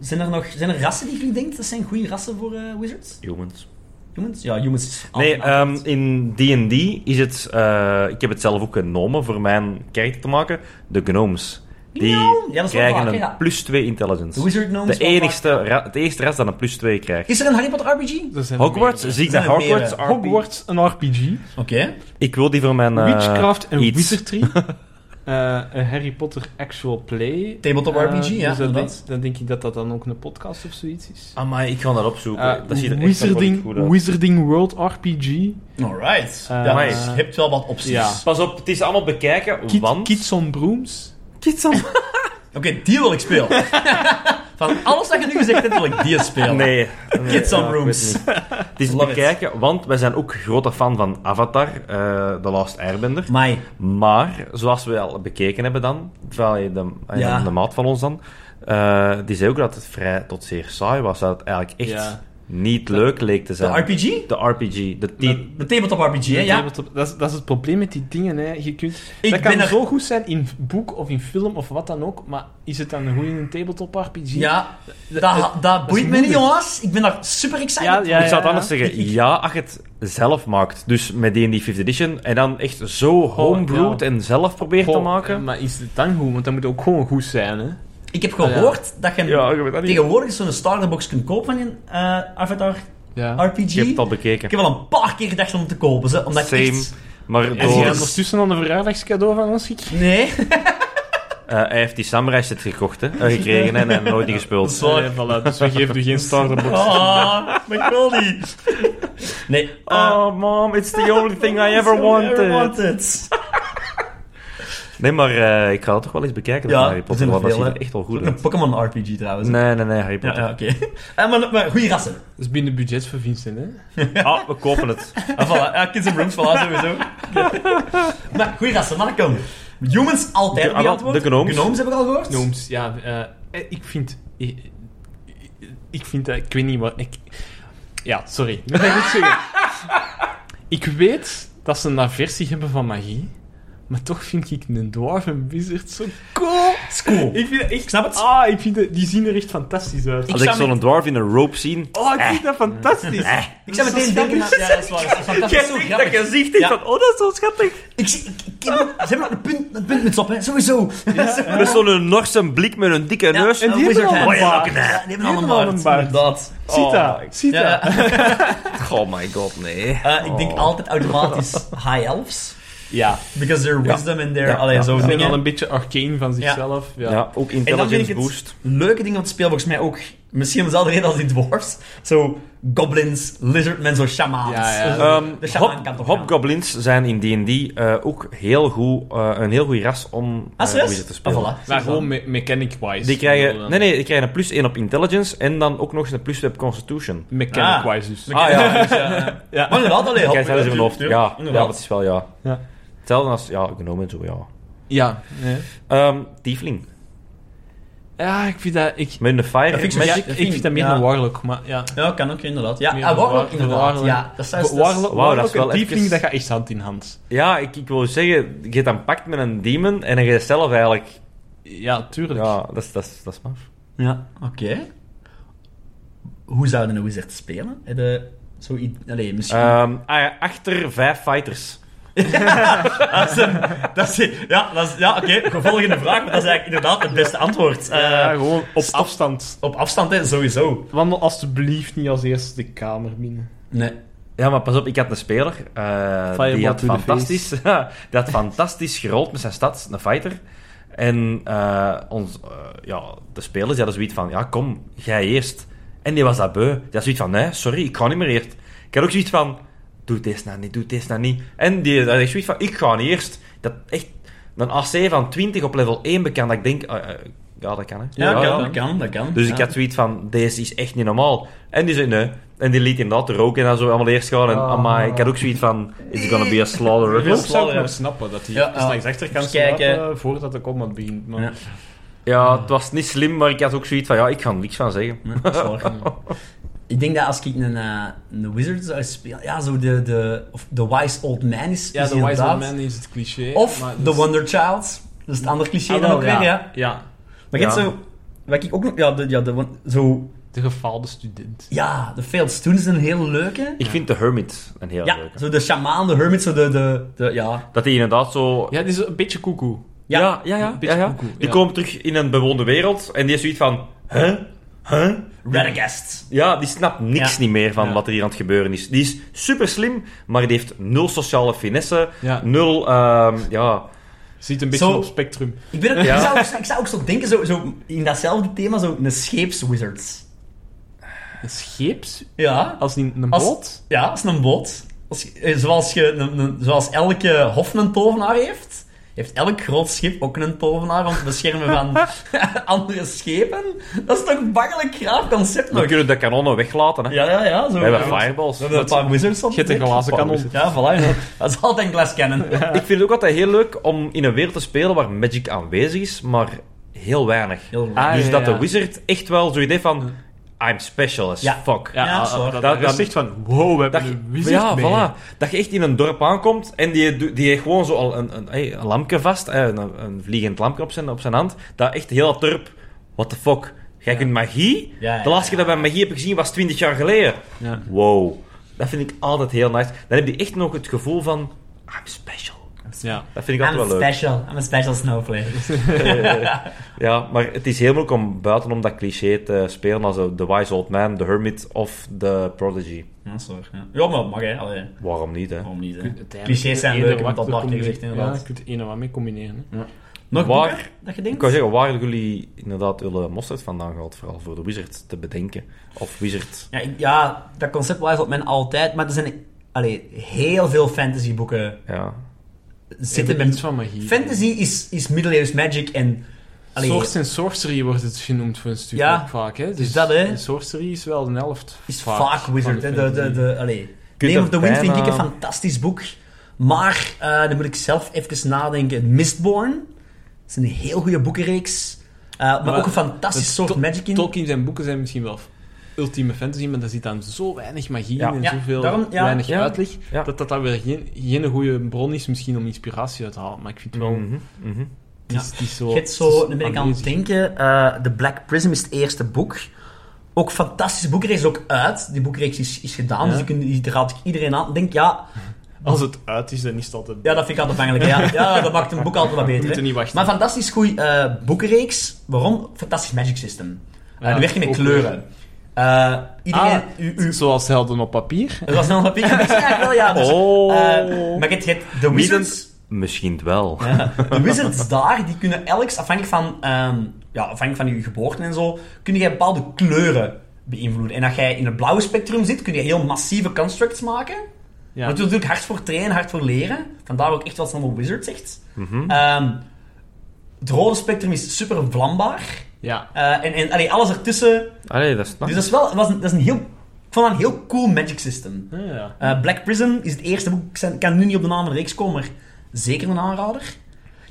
zijn er nog zijn er rassen die je denkt dat zijn goede rassen voor eh, wizards? Humans. Humans? Oh, Ja, humans. is Nee, altijd- altijd- ehm, in D&D is het... eh, ik heb het zelf ook genomen voor mijn karakter te maken. De gnomes. Die Gnome? Ja, dat is wel krijgen vaak, een ja. plus 2 de intelligence. wizard gnomes. De wel vaak- enigste, ra- het enige ras dat een plus 2 krijgt. Is er een Harry Potter RPG? Oké. Er zijn er Hogwarts? meerdere. Zie ik dat Zijn er Hogwarts? meer, RP? Hogwarts, een RPG. Ik wil die voor mijn... eh, Witchcraft en iets. Wizardry. Eh, een Harry Potter actual play. Tabletop Eh, RPG, ja, Dus dan denk, inderdaad. dan denk ik dat dat dan ook een podcast of zoiets is. Amai, ik ga dat opzoeken. Eh, Ah, dat ziet er echt nog wel goed Wizarding, uit. Wizarding World RPG. Alright. Eh, ja, maar- dus je hebt wel wat opties. Ja. Pas op, het is allemaal bekijken, Kid, want... Kids on Brooms. Oké, die wil ik spelen. Van alles wat je nu gezegd hebt, wil ik die spelen. Nee. Kids Nee, on ja, rooms. ik weet het niet. Het is Love it. bekijken, want wij zijn ook grote fan van Avatar, eh The Last Airbender. Mai. Maar, zoals we al bekeken hebben dan, van de, eh, Ja. de maat van ons dan, eh, die zei ook dat het vrij tot zeer saai was. Dat het eigenlijk echt Ja. niet leuk leek te De zijn. RPG? De RPG, de Dat- team. De tabletop RPG, hè? Ja, Ja. tabletop- Dat, is, dat is het probleem met die dingen. Hè. Je kunt, Ik dat ben kan er- zo goed zijn in boek of in film of wat dan ook, maar is het dan een goede in een tabletop RPG? Ja. Dat, dat boeit me niet, moeilijk. jongens. Ik ben daar super excited Ja, voor. ja, ik zou het anders ja. zeggen, ja, als je het zelf maakt, dus met die in die 5th edition, en dan echt zo homebrewed ja. en zelf probeert Goh, te maken. eh, Maar is het dan goed? Want dat moet ook gewoon goed zijn, hè? Ik Ik heb gehoord dat je Ah, Ja, je weet dat niet. tegenwoordig zo'n starterbox kunt kopen van een eh, Avatar Ja. RPG. Je hebt het al Ik bekeken. heb al een paar keer gedacht om het te kopen, ze, omdat ik Same. echt- Maar Heb door, jij Yes. ondertussen al een verjaardagscadeau van ons gekregen? Nee, eh, hij heeft die samurai set gekocht, hè, eh, gekregen hè, en hij heeft nooit die gespeeld. Sorry. Nee, voilà, dus we geven u geen starterbox. Ah, maar ik wil niet. Nee, eh, Oh, mom, it's the only thing I ever Ever wanted. wanted. Nee, maar eh, ik ga het toch wel eens bekijken. dat Ja, Harry Potter, er zijn want dat veel, ziet hè. er echt wel goed Ook Een uit. Pokémon RPG trouwens. Nee, nee, nee, Harry Ja, Potter. ja oké. Eh, maar, maar goede rassen. Dat is binnen budget voor Vincent, hè? Ah, we kopen het. Ah, voilà. Ja, Kids and Brooms, voilà, sowieso. maar goede rassen, manneken. Humans altijd De- op die antwoord. Ah, de gnomes. heb ik al gehoord. Nooms, ja. eh, ik vind... Ik, ik- ik vind dat... Ik weet niet wat... Ik, ja, sorry. Dat ga ik niet zeggen. Ik weet dat ze een aversie hebben van magie. Maar toch vind ik een dwarf en wizard zo cool. Is cool. Ik, vind, dat echt- Ik snap het. Ah, ik vind dat, die zien er echt fantastisch uit. Als zou ik zo'n met- dwarf in een rope eh, zie... Oh, ik vind dat fantastisch. Ik zou meteen denken aan... Ja, dat is waar. Dat is fantastisch. Zo grappig. gezicht Ja. van, oh, dat is zo schattig. Ik zie... Ik, ik, ze Ah. hebben ook een punt, een punt met op, hè. Sowieso. Met zo'n Norse blik met een dikke neus. en die hebben wizard al een hands. baard. Ja, Die hebben Die allemaal een baard. Inderdaad. Ziet dat? Ziet Ja. dat? Oh my god, nee. Eh, ik denk Oh. altijd automatisch high elves. Ja. Because their wisdom and their... Ja, Allee, ja, zo ja. Ze zijn dingen. al een beetje arcane van zichzelf. Ja. Ja, ook En dan vind intelligence ik boost. het leuke ding van het speel, volgens mij ook, misschien om dezelfde reden als die dwarfs, zo goblins, lizardmen, zo shamans. Ja, ja. Dus Ehm, de shaman hop, kan toch gaan. hopgoblins zijn in D&D eh, ook heel goed, eh, een heel goed ras om Ah, eh, serieus? wizard te Ah, spelen. voilà. Maar gewoon me- mechanic-wise. Die Ik bedoel krijgen, dan- nee, nee, die krijgen een plus 1 op intelligence en dan ook nog eens een plus 2 op Ah, constitution. Mechanic-wise dus. Ah, ja. Dus, eh, Ja. Maar inderdaad, allee, Die hop. krijgen zelfs in hun hoofd. Ja, ja, inderdaad. dat is wel ja. Ja. Hetzelfde als, ja, genomen en zo, ja. Ja. Ja, Ehm tiefling. ik vind dat... Ik, Met een fire Ja, fiction. magic. ik ja, ik vind- vind dat meer ja. een warlock, maar ja. Ja, kan ook, inderdaad. Ja, Meer ah, warlock, warlock, inderdaad. warlock. Ja, dat is juist... dat is- Warlock, Wauw, dat is warlock wel en tiefling, even- dat gaat echt hand in hand. Ja, ik, ik wil zeggen, je hebt een pact met een demon en dan ga je zelf eigenlijk... Ja, tuurlijk. Ja, dat is, dat is, dat is maf. Ja, oké. Hoe zouden een wizard spelen? Heb je zoiets... Allee, misschien... Ehm, ah ja, achter vijf fighters. Ah, Sam, dat is, ja, dat is- ja oké, volgende vraag, maar dat is eigenlijk inderdaad het beste antwoord. Eh, Ja, gewoon op stop. afstand. op afstand, hè, sowieso. Wandel alstublieft niet als eerste de kamer binnen. Nee. Ja, maar pas op, ik had een speler. eh, Fireball die, had to the fantastisch, die had fantastisch gerold met zijn stad, een fighter. En eh, ons, eh, ja, de spelers die hadden zoiets van: ja, kom, jij eerst. En die was dat beu. Die had zoiets van: nee, sorry, ik ga niet meer eerst. Ik had ook zoiets van: doe deze nou niet, doe deze nou niet. En die had echt zoiets van: ik ga niet eerst. Dat echt een AC van 20 op level 1 bekend. Dat ik denk: eh, eh, ja, dat kan hè. Ja, dat kan, ja. dat kan, dat kan. Dus Ja. ik had zoiets van, deze is echt niet normaal. En die zei, nee. En die liet inderdaad de rook en dan zo allemaal eerst gaan. En Ah. amai, ik had ook zoiets van, it's gonna be a slaughter. Dat wel, zou ik ja. nog snappen, dat hij Ja, ja. langs de achterkant Eens kijken. slapen eh, voordat de combat begint. Maar... Ja. Ja, het was niet slim, maar ik had ook zoiets van, ja, ik ga er niks van zeggen. Ja, dat is waar. Ik denk dat als ik een, eh, een wizard zou spelen, ja, zo de, de, of de wise old man is, Ja, is de wise inderdaad- old man is het cliché. Of maar dus- the dat is- wonder child, dat is het andere cliché Ah, dan wel, ook weer, ja. Ja, Maar je hebt Ja. zo, wat ik ook nog, ja, de, ja, de, won- zo, de gefaalde student. ja, de failed students is een heel leuke. Ik vind de hermit een heel Ja, leuke. zo de shaman, de hermit, zo de, de, de ja. Dat die inderdaad zo... Ja, het is een beetje koekoe. Ja. ja, ja. ja, ja, Beetje ja. koekoe, Die ja. komen terug in een bewoonde wereld en die is zoiets van, huh? Huh? Radagast. Ja, die snapt niks Ja. niet meer van Ja. wat er hier aan het gebeuren is. Die is super slim, maar die heeft nul sociale finesse, Ja. nul, ehm, ja, Ziet een beetje Zo- op spectrum. Ik, ben ook, Ja. ik, zou, ook- ik zou ook zo denken, zo, zo in datzelfde thema, zo een scheepswizard. Een scheeps? Ja. Als in een Als- boot? Ja, dat is een boot. Als, je- eh, zoals, je, een- een- zoals elke hof een tovenaar heeft, heeft elk groot schip ook een tovenaar om te beschermen van andere schepen. Dat is toch een bangelijk graaf concept We nog? kunnen de kanonnen weglaten. Hè. Ja, ja, ja. Zo, eh, We hebben we fireballs. hebben een paar wizards op. Je hebt een glazen kanon. Ja, voilà. ja. Dat is altijd een glas cannon. Ik vind het ook altijd heel leuk om in een wereld te spelen waar magic aanwezig is, maar heel weinig. Heel Ah, dus ja, dat ja. de wizard echt wel zoiets heeft van... I'm special as Ja. fuck. Ja, dat is waar. ah, dat, Dat- dat, is dat- echt van, wow, we hebben Dat, een je- wizard ja, mee. voilà. Dat je echt in een dorp aankomt en die, doet- die heeft gewoon zo al een, een, hey, een lampje vast, eh, een, een vliegend lampje op zijn, op zijn hand, dat echt heel dat dorp... What the fuck? Jij kunt magie? Ja, ja, de laatste ja. keer dat we magie hebben gezien was 20 jaar geleden. Ja. Wow. Dat vind ik altijd heel nice. Dan heb je echt nog het gevoel van... I'm special. I'm Ja. Dat vind ik I'm altijd wel leuk. special. I'm a special snowflake. ja, maar het is heel moeilijk om buiten om dat cliché te spelen als eh, The Wise Old Man, The Hermit of The Prodigy. Ja, dat is waar, ja. Ja, maar dat mag hè. Allee, Waarom niet, hè? waarom niet hè. Uiteindelijk Clichés zijn kun je leuk, er want dat wat te dacht je combineren. echt inderdaad. Ja, je kunt het ene wat mee combineren. hè. Nog Waar- boeken dat je Ik denkt? kan zeggen, waar hebben jullie inderdaad willen mosterd vandaan gehad, vooral voor de Wizard te bedenken. Of Wizard... Ja, ik- ja, dat concept was op men altijd, maar er zijn allee, heel veel fantasyboeken Ja. zitten Er met... iets van magie. Fantasy is, is middeleeuws magic en... Allee, Source en sorcery wordt het genoemd voor een stuk Ja. ook vaak. Hè? Dus, dat, hè? en Sorcery is wel de helft. is vaak, wizard. hè. van De, de, fantasy. de, allee. kunt Name of dat the Wind vind ik een bijna- fantastisch boek. Maar, eh, dan moet ik zelf even nadenken. Mistborn. Dat is een heel goede boekenreeks. Eh, maar, Maar ook een fantastisch het soort to- magic in. Tolkien zijn boeken zijn misschien wel ultieme fantasy, maar daar zit dan zo weinig magie Ja. in en Ja, zoveel daarom- ja. weinig Ja. uitleg, Ja. dat dat dan weer geen, geen goede bron is misschien om inspiratie uit te halen. Maar ik vind wel, Mhm, mhm. het, is, het is zo... Je hebt het zo, is nu ben ik aan aanwezig. het denken, eh, The Black Prism is het eerste boek. Ook fantastische boekreeks, ook uit. Die boekreeks is, is gedaan, Ja. dus die, kun- die daar raad ik iedereen aan. Ik Denk, ja, Als het uit is, dan is dat het... ja, dat vind ik altijd pijnlijk. Ja. ja, dat maakt een boek altijd wat We beter. moeten hè. niet wachten. Maar fantastisch goede boekenreeks. Waarom? Fantastisch Magic System. Eh Ja, nu werk je met ook kleuren. Eh iedereen... Ah, u, u, Zoals helden op papier. dat was nog een papier. Ja, wel, ja. Dus, Oh. eh, maar je hebt- je hebt The Wizards... Misschien wel. De wizards daar, die kunnen elks, afhankelijk van, ehm, ja, afhankelijk van je geboorte en zo, kunnen jij bepaalde kleuren beïnvloeden. En als jij in het blauwe spectrum zit, kun je heel massieve constructs maken. Ja. Dat is natuurlijk hard voor trainen, hard voor leren. Vandaar ook echt wat Snowball Wizard zegt. Mhm. Ehm, het rode spectrum is super vlambaar. ja. Eh, en en allee, alles ertussen. Allee, dat snap Dus ik. dat is wel was een, dat is een heel, ik vond dat een heel cool magic system. Ja, Ah, ja. Eh, Black Prison is het eerste boek. Ik zijn- kan nu niet op de naam van de reeks komen, maar zeker een aanrader.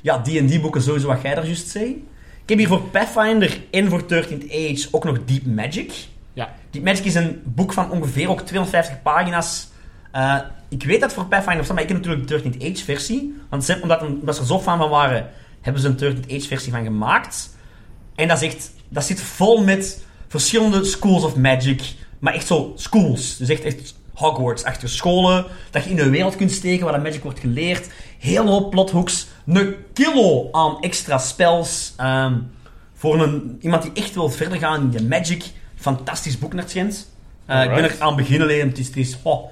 Ja, die en die boeken sowieso wat jij daar juist zei. Ik heb hier voor Pathfinder en voor 13th Age ook nog Deep Magic. Ja. Deep Magic is een boek van ongeveer ook 250 pagina's. Eh, ik weet dat het voor Pathfinder staat, maar ik heb natuurlijk de 13th Age versie. Want ze, omdat, omdat ze er zo fan van waren, hebben ze een 13th Age versie van gemaakt. En dat, is echt, dat zit vol met verschillende schools of magic. Maar echt zo schools. Dus echt, echt Hogwarts achter scholen. Dat je in een wereld kunt steken waar dat magic wordt geleerd. Heel hoop plothooks. Een kilo aan extra spells. Ehm, voor een, iemand die echt wil verder gaan in de magic. Fantastisch boek naar het schijnt. Eh, ik ben er Alright. aan beginnen leren. Het is, het is, oh,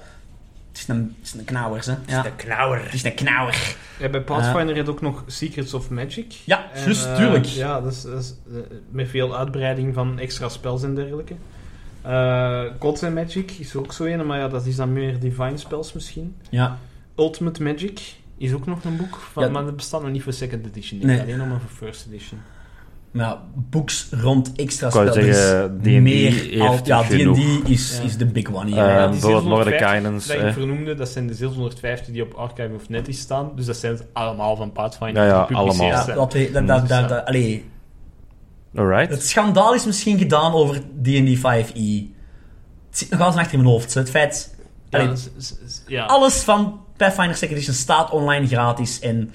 het is een, het is een knauwer, hè. Ja. De knauwer. Het is een knauwer. Ja, bij Pathfinder heb je ook nog Secrets of Magic. Ja, En, juist, eh, tuurlijk. ja, dat is, dat is, eh, met veel uitbreiding van extra spels en dergelijke. Eh Gods and Magic is er ook zo een, maar ja, dat is dan meer Divine spells misschien. Ja. Ultimate Magic is ook nog een boek, van, Ja. maar dat bestaat nog niet voor second edition. Nee. Nee. Alleen nog maar voor first edition. Maar ja, boeks rond extra Ik wou spel. Er zeggen, is D&D meer heeft al- ja, genoeg. D&D is, Ja. is de big one hier. Eh, ja. die bijvoorbeeld 750 Mordekainens, Dat ik hè. vernoemde, dat zijn de 750 die op Archive of Net is staan. Dus dat zijn het allemaal van Pathfinder. Ja, ja, die gepubliceerd allemaal. Ja, zijn. dat, we- dat, dat, dat, dat- allee, Alright. het schandaal is misschien gedaan over D&D 5e. Het zit nog altijd achter in mijn hoofd. zo. Het feit... Ja, allee, dat is- is- is- ja. alles van Pathfinder Second Edition staat online gratis. En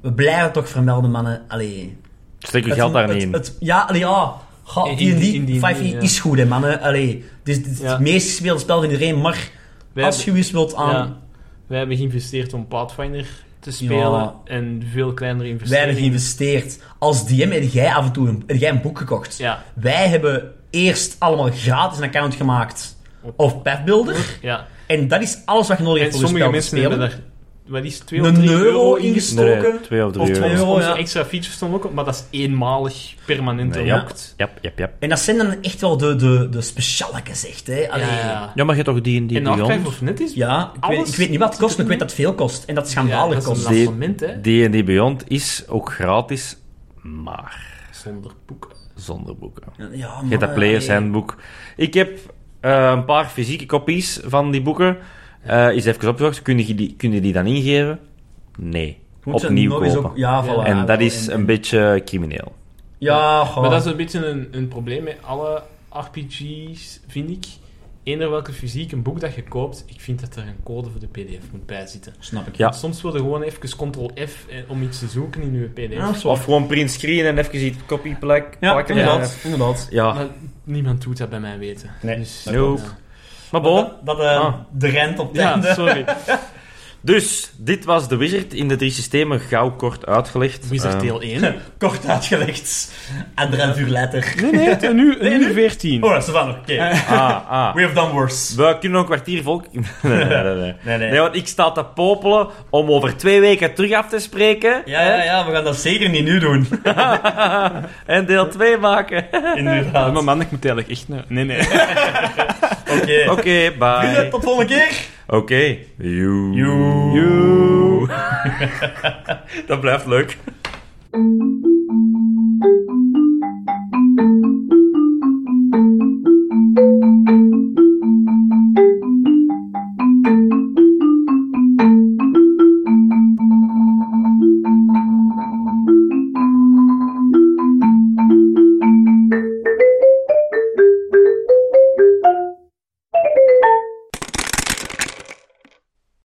we blijven het toch vermelden, mannen. Allee, Steek je het- geld daar niet het- in. het- ja, allee, ah, ja. Ga, In- in- in D&D D&D, 5e ja. is goed, hè, mannen. Allee, dit is dit is Ja. het meest gespeelde spel van iedereen. Maar Wij als je eens wilt aan... Ja. Wij hebben geïnvesteerd om Pathfinder te spelen Ja. en veel kleinere Wij hebben investeringen. geïnvesteerd. Als DM heb jij af en toe een, heb jij een boek gekocht. Ja, Wij hebben eerst allemaal gratis een account gemaakt op Pathbuilder. ja. En dat is alles wat je nodig En hebt voor een sommige spel te mensen hebben spelen. daar, wat is het, 2 of Een 3 euro euro Nee, ingestoken. twee of Of drie twee euro. euro. Onze ja. extra features stonden ook op, maar dat is eenmalig permanent Nee, nee, ja. locked. Jap, jap, jap. En dat zijn dan echt wel de, de, de specialekes, echt. Hè? Ja, Allee. ja. Ja, maar je hebt toch die en die En Archive Beyond? of Net is... Ja, ik, weet, Alles ik weet niet wat het kost, maar ik weet dat het veel kost. En dat het ja, schandalig dat is een kost. Die- lancement, hè. Die en die Beyond is ook gratis, maar Zonder boeken. zonder boeken. Ja, Je hebt dat maar, eh, Players allee. Handbook. Ik heb eh, een paar fysieke kopies van die boeken. Eh is even opgezocht. Kun je die, kun je die dan ingeven? Nee. Je moet ze Opnieuw nog eens kopen. ook- ja, voilà. en dat is En- een beetje crimineel. Ja, goh. Maar dat is een beetje een, een probleem met alle RPG's, vind ik. Eender welke fysiek een boek dat je koopt, ik vind dat er een code voor de pdf moet bijzitten. Snap ik. Ja. Want Soms wil je gewoon even ctrl-f eh, om iets te zoeken in je pdf. Ja, dat is waar. Of gewoon print screen en even iets copy plek Ja, pakken. inderdaad. inderdaad. Ja. Maar niemand doet dat bij mijn weten. Nee, dus, dat klopt. ja. Maar Ah, bon, Dat, dat, eh, Ah. de rent op het Ja, einde. sorry. Dus, dit was de Wizard in de drie systemen, gauw kort uitgelegd. Wizard Ehm, deel 1. Kort uitgelegd. Anderhalf uur later. Nee, nee, het- een uur, een uur 14. Oh, dat is dan oké. Ah, ah. We have done worse. We kunnen nog een kwartier volk... Nee, nee, nee. nee. Nee, nee. Nee, want ik sta te popelen om over twee weken terug af te spreken. Ja, ja, ja, we gaan dat zeker niet nu doen. En deel 2 maken. Inderdaad. Maar Oké. man, ik moet eigenlijk echt... naar- Nee, nee. Oké, Vrienden, bye. Tot volgende keer. Oké. You. Joe. You. Dat blijft leuk.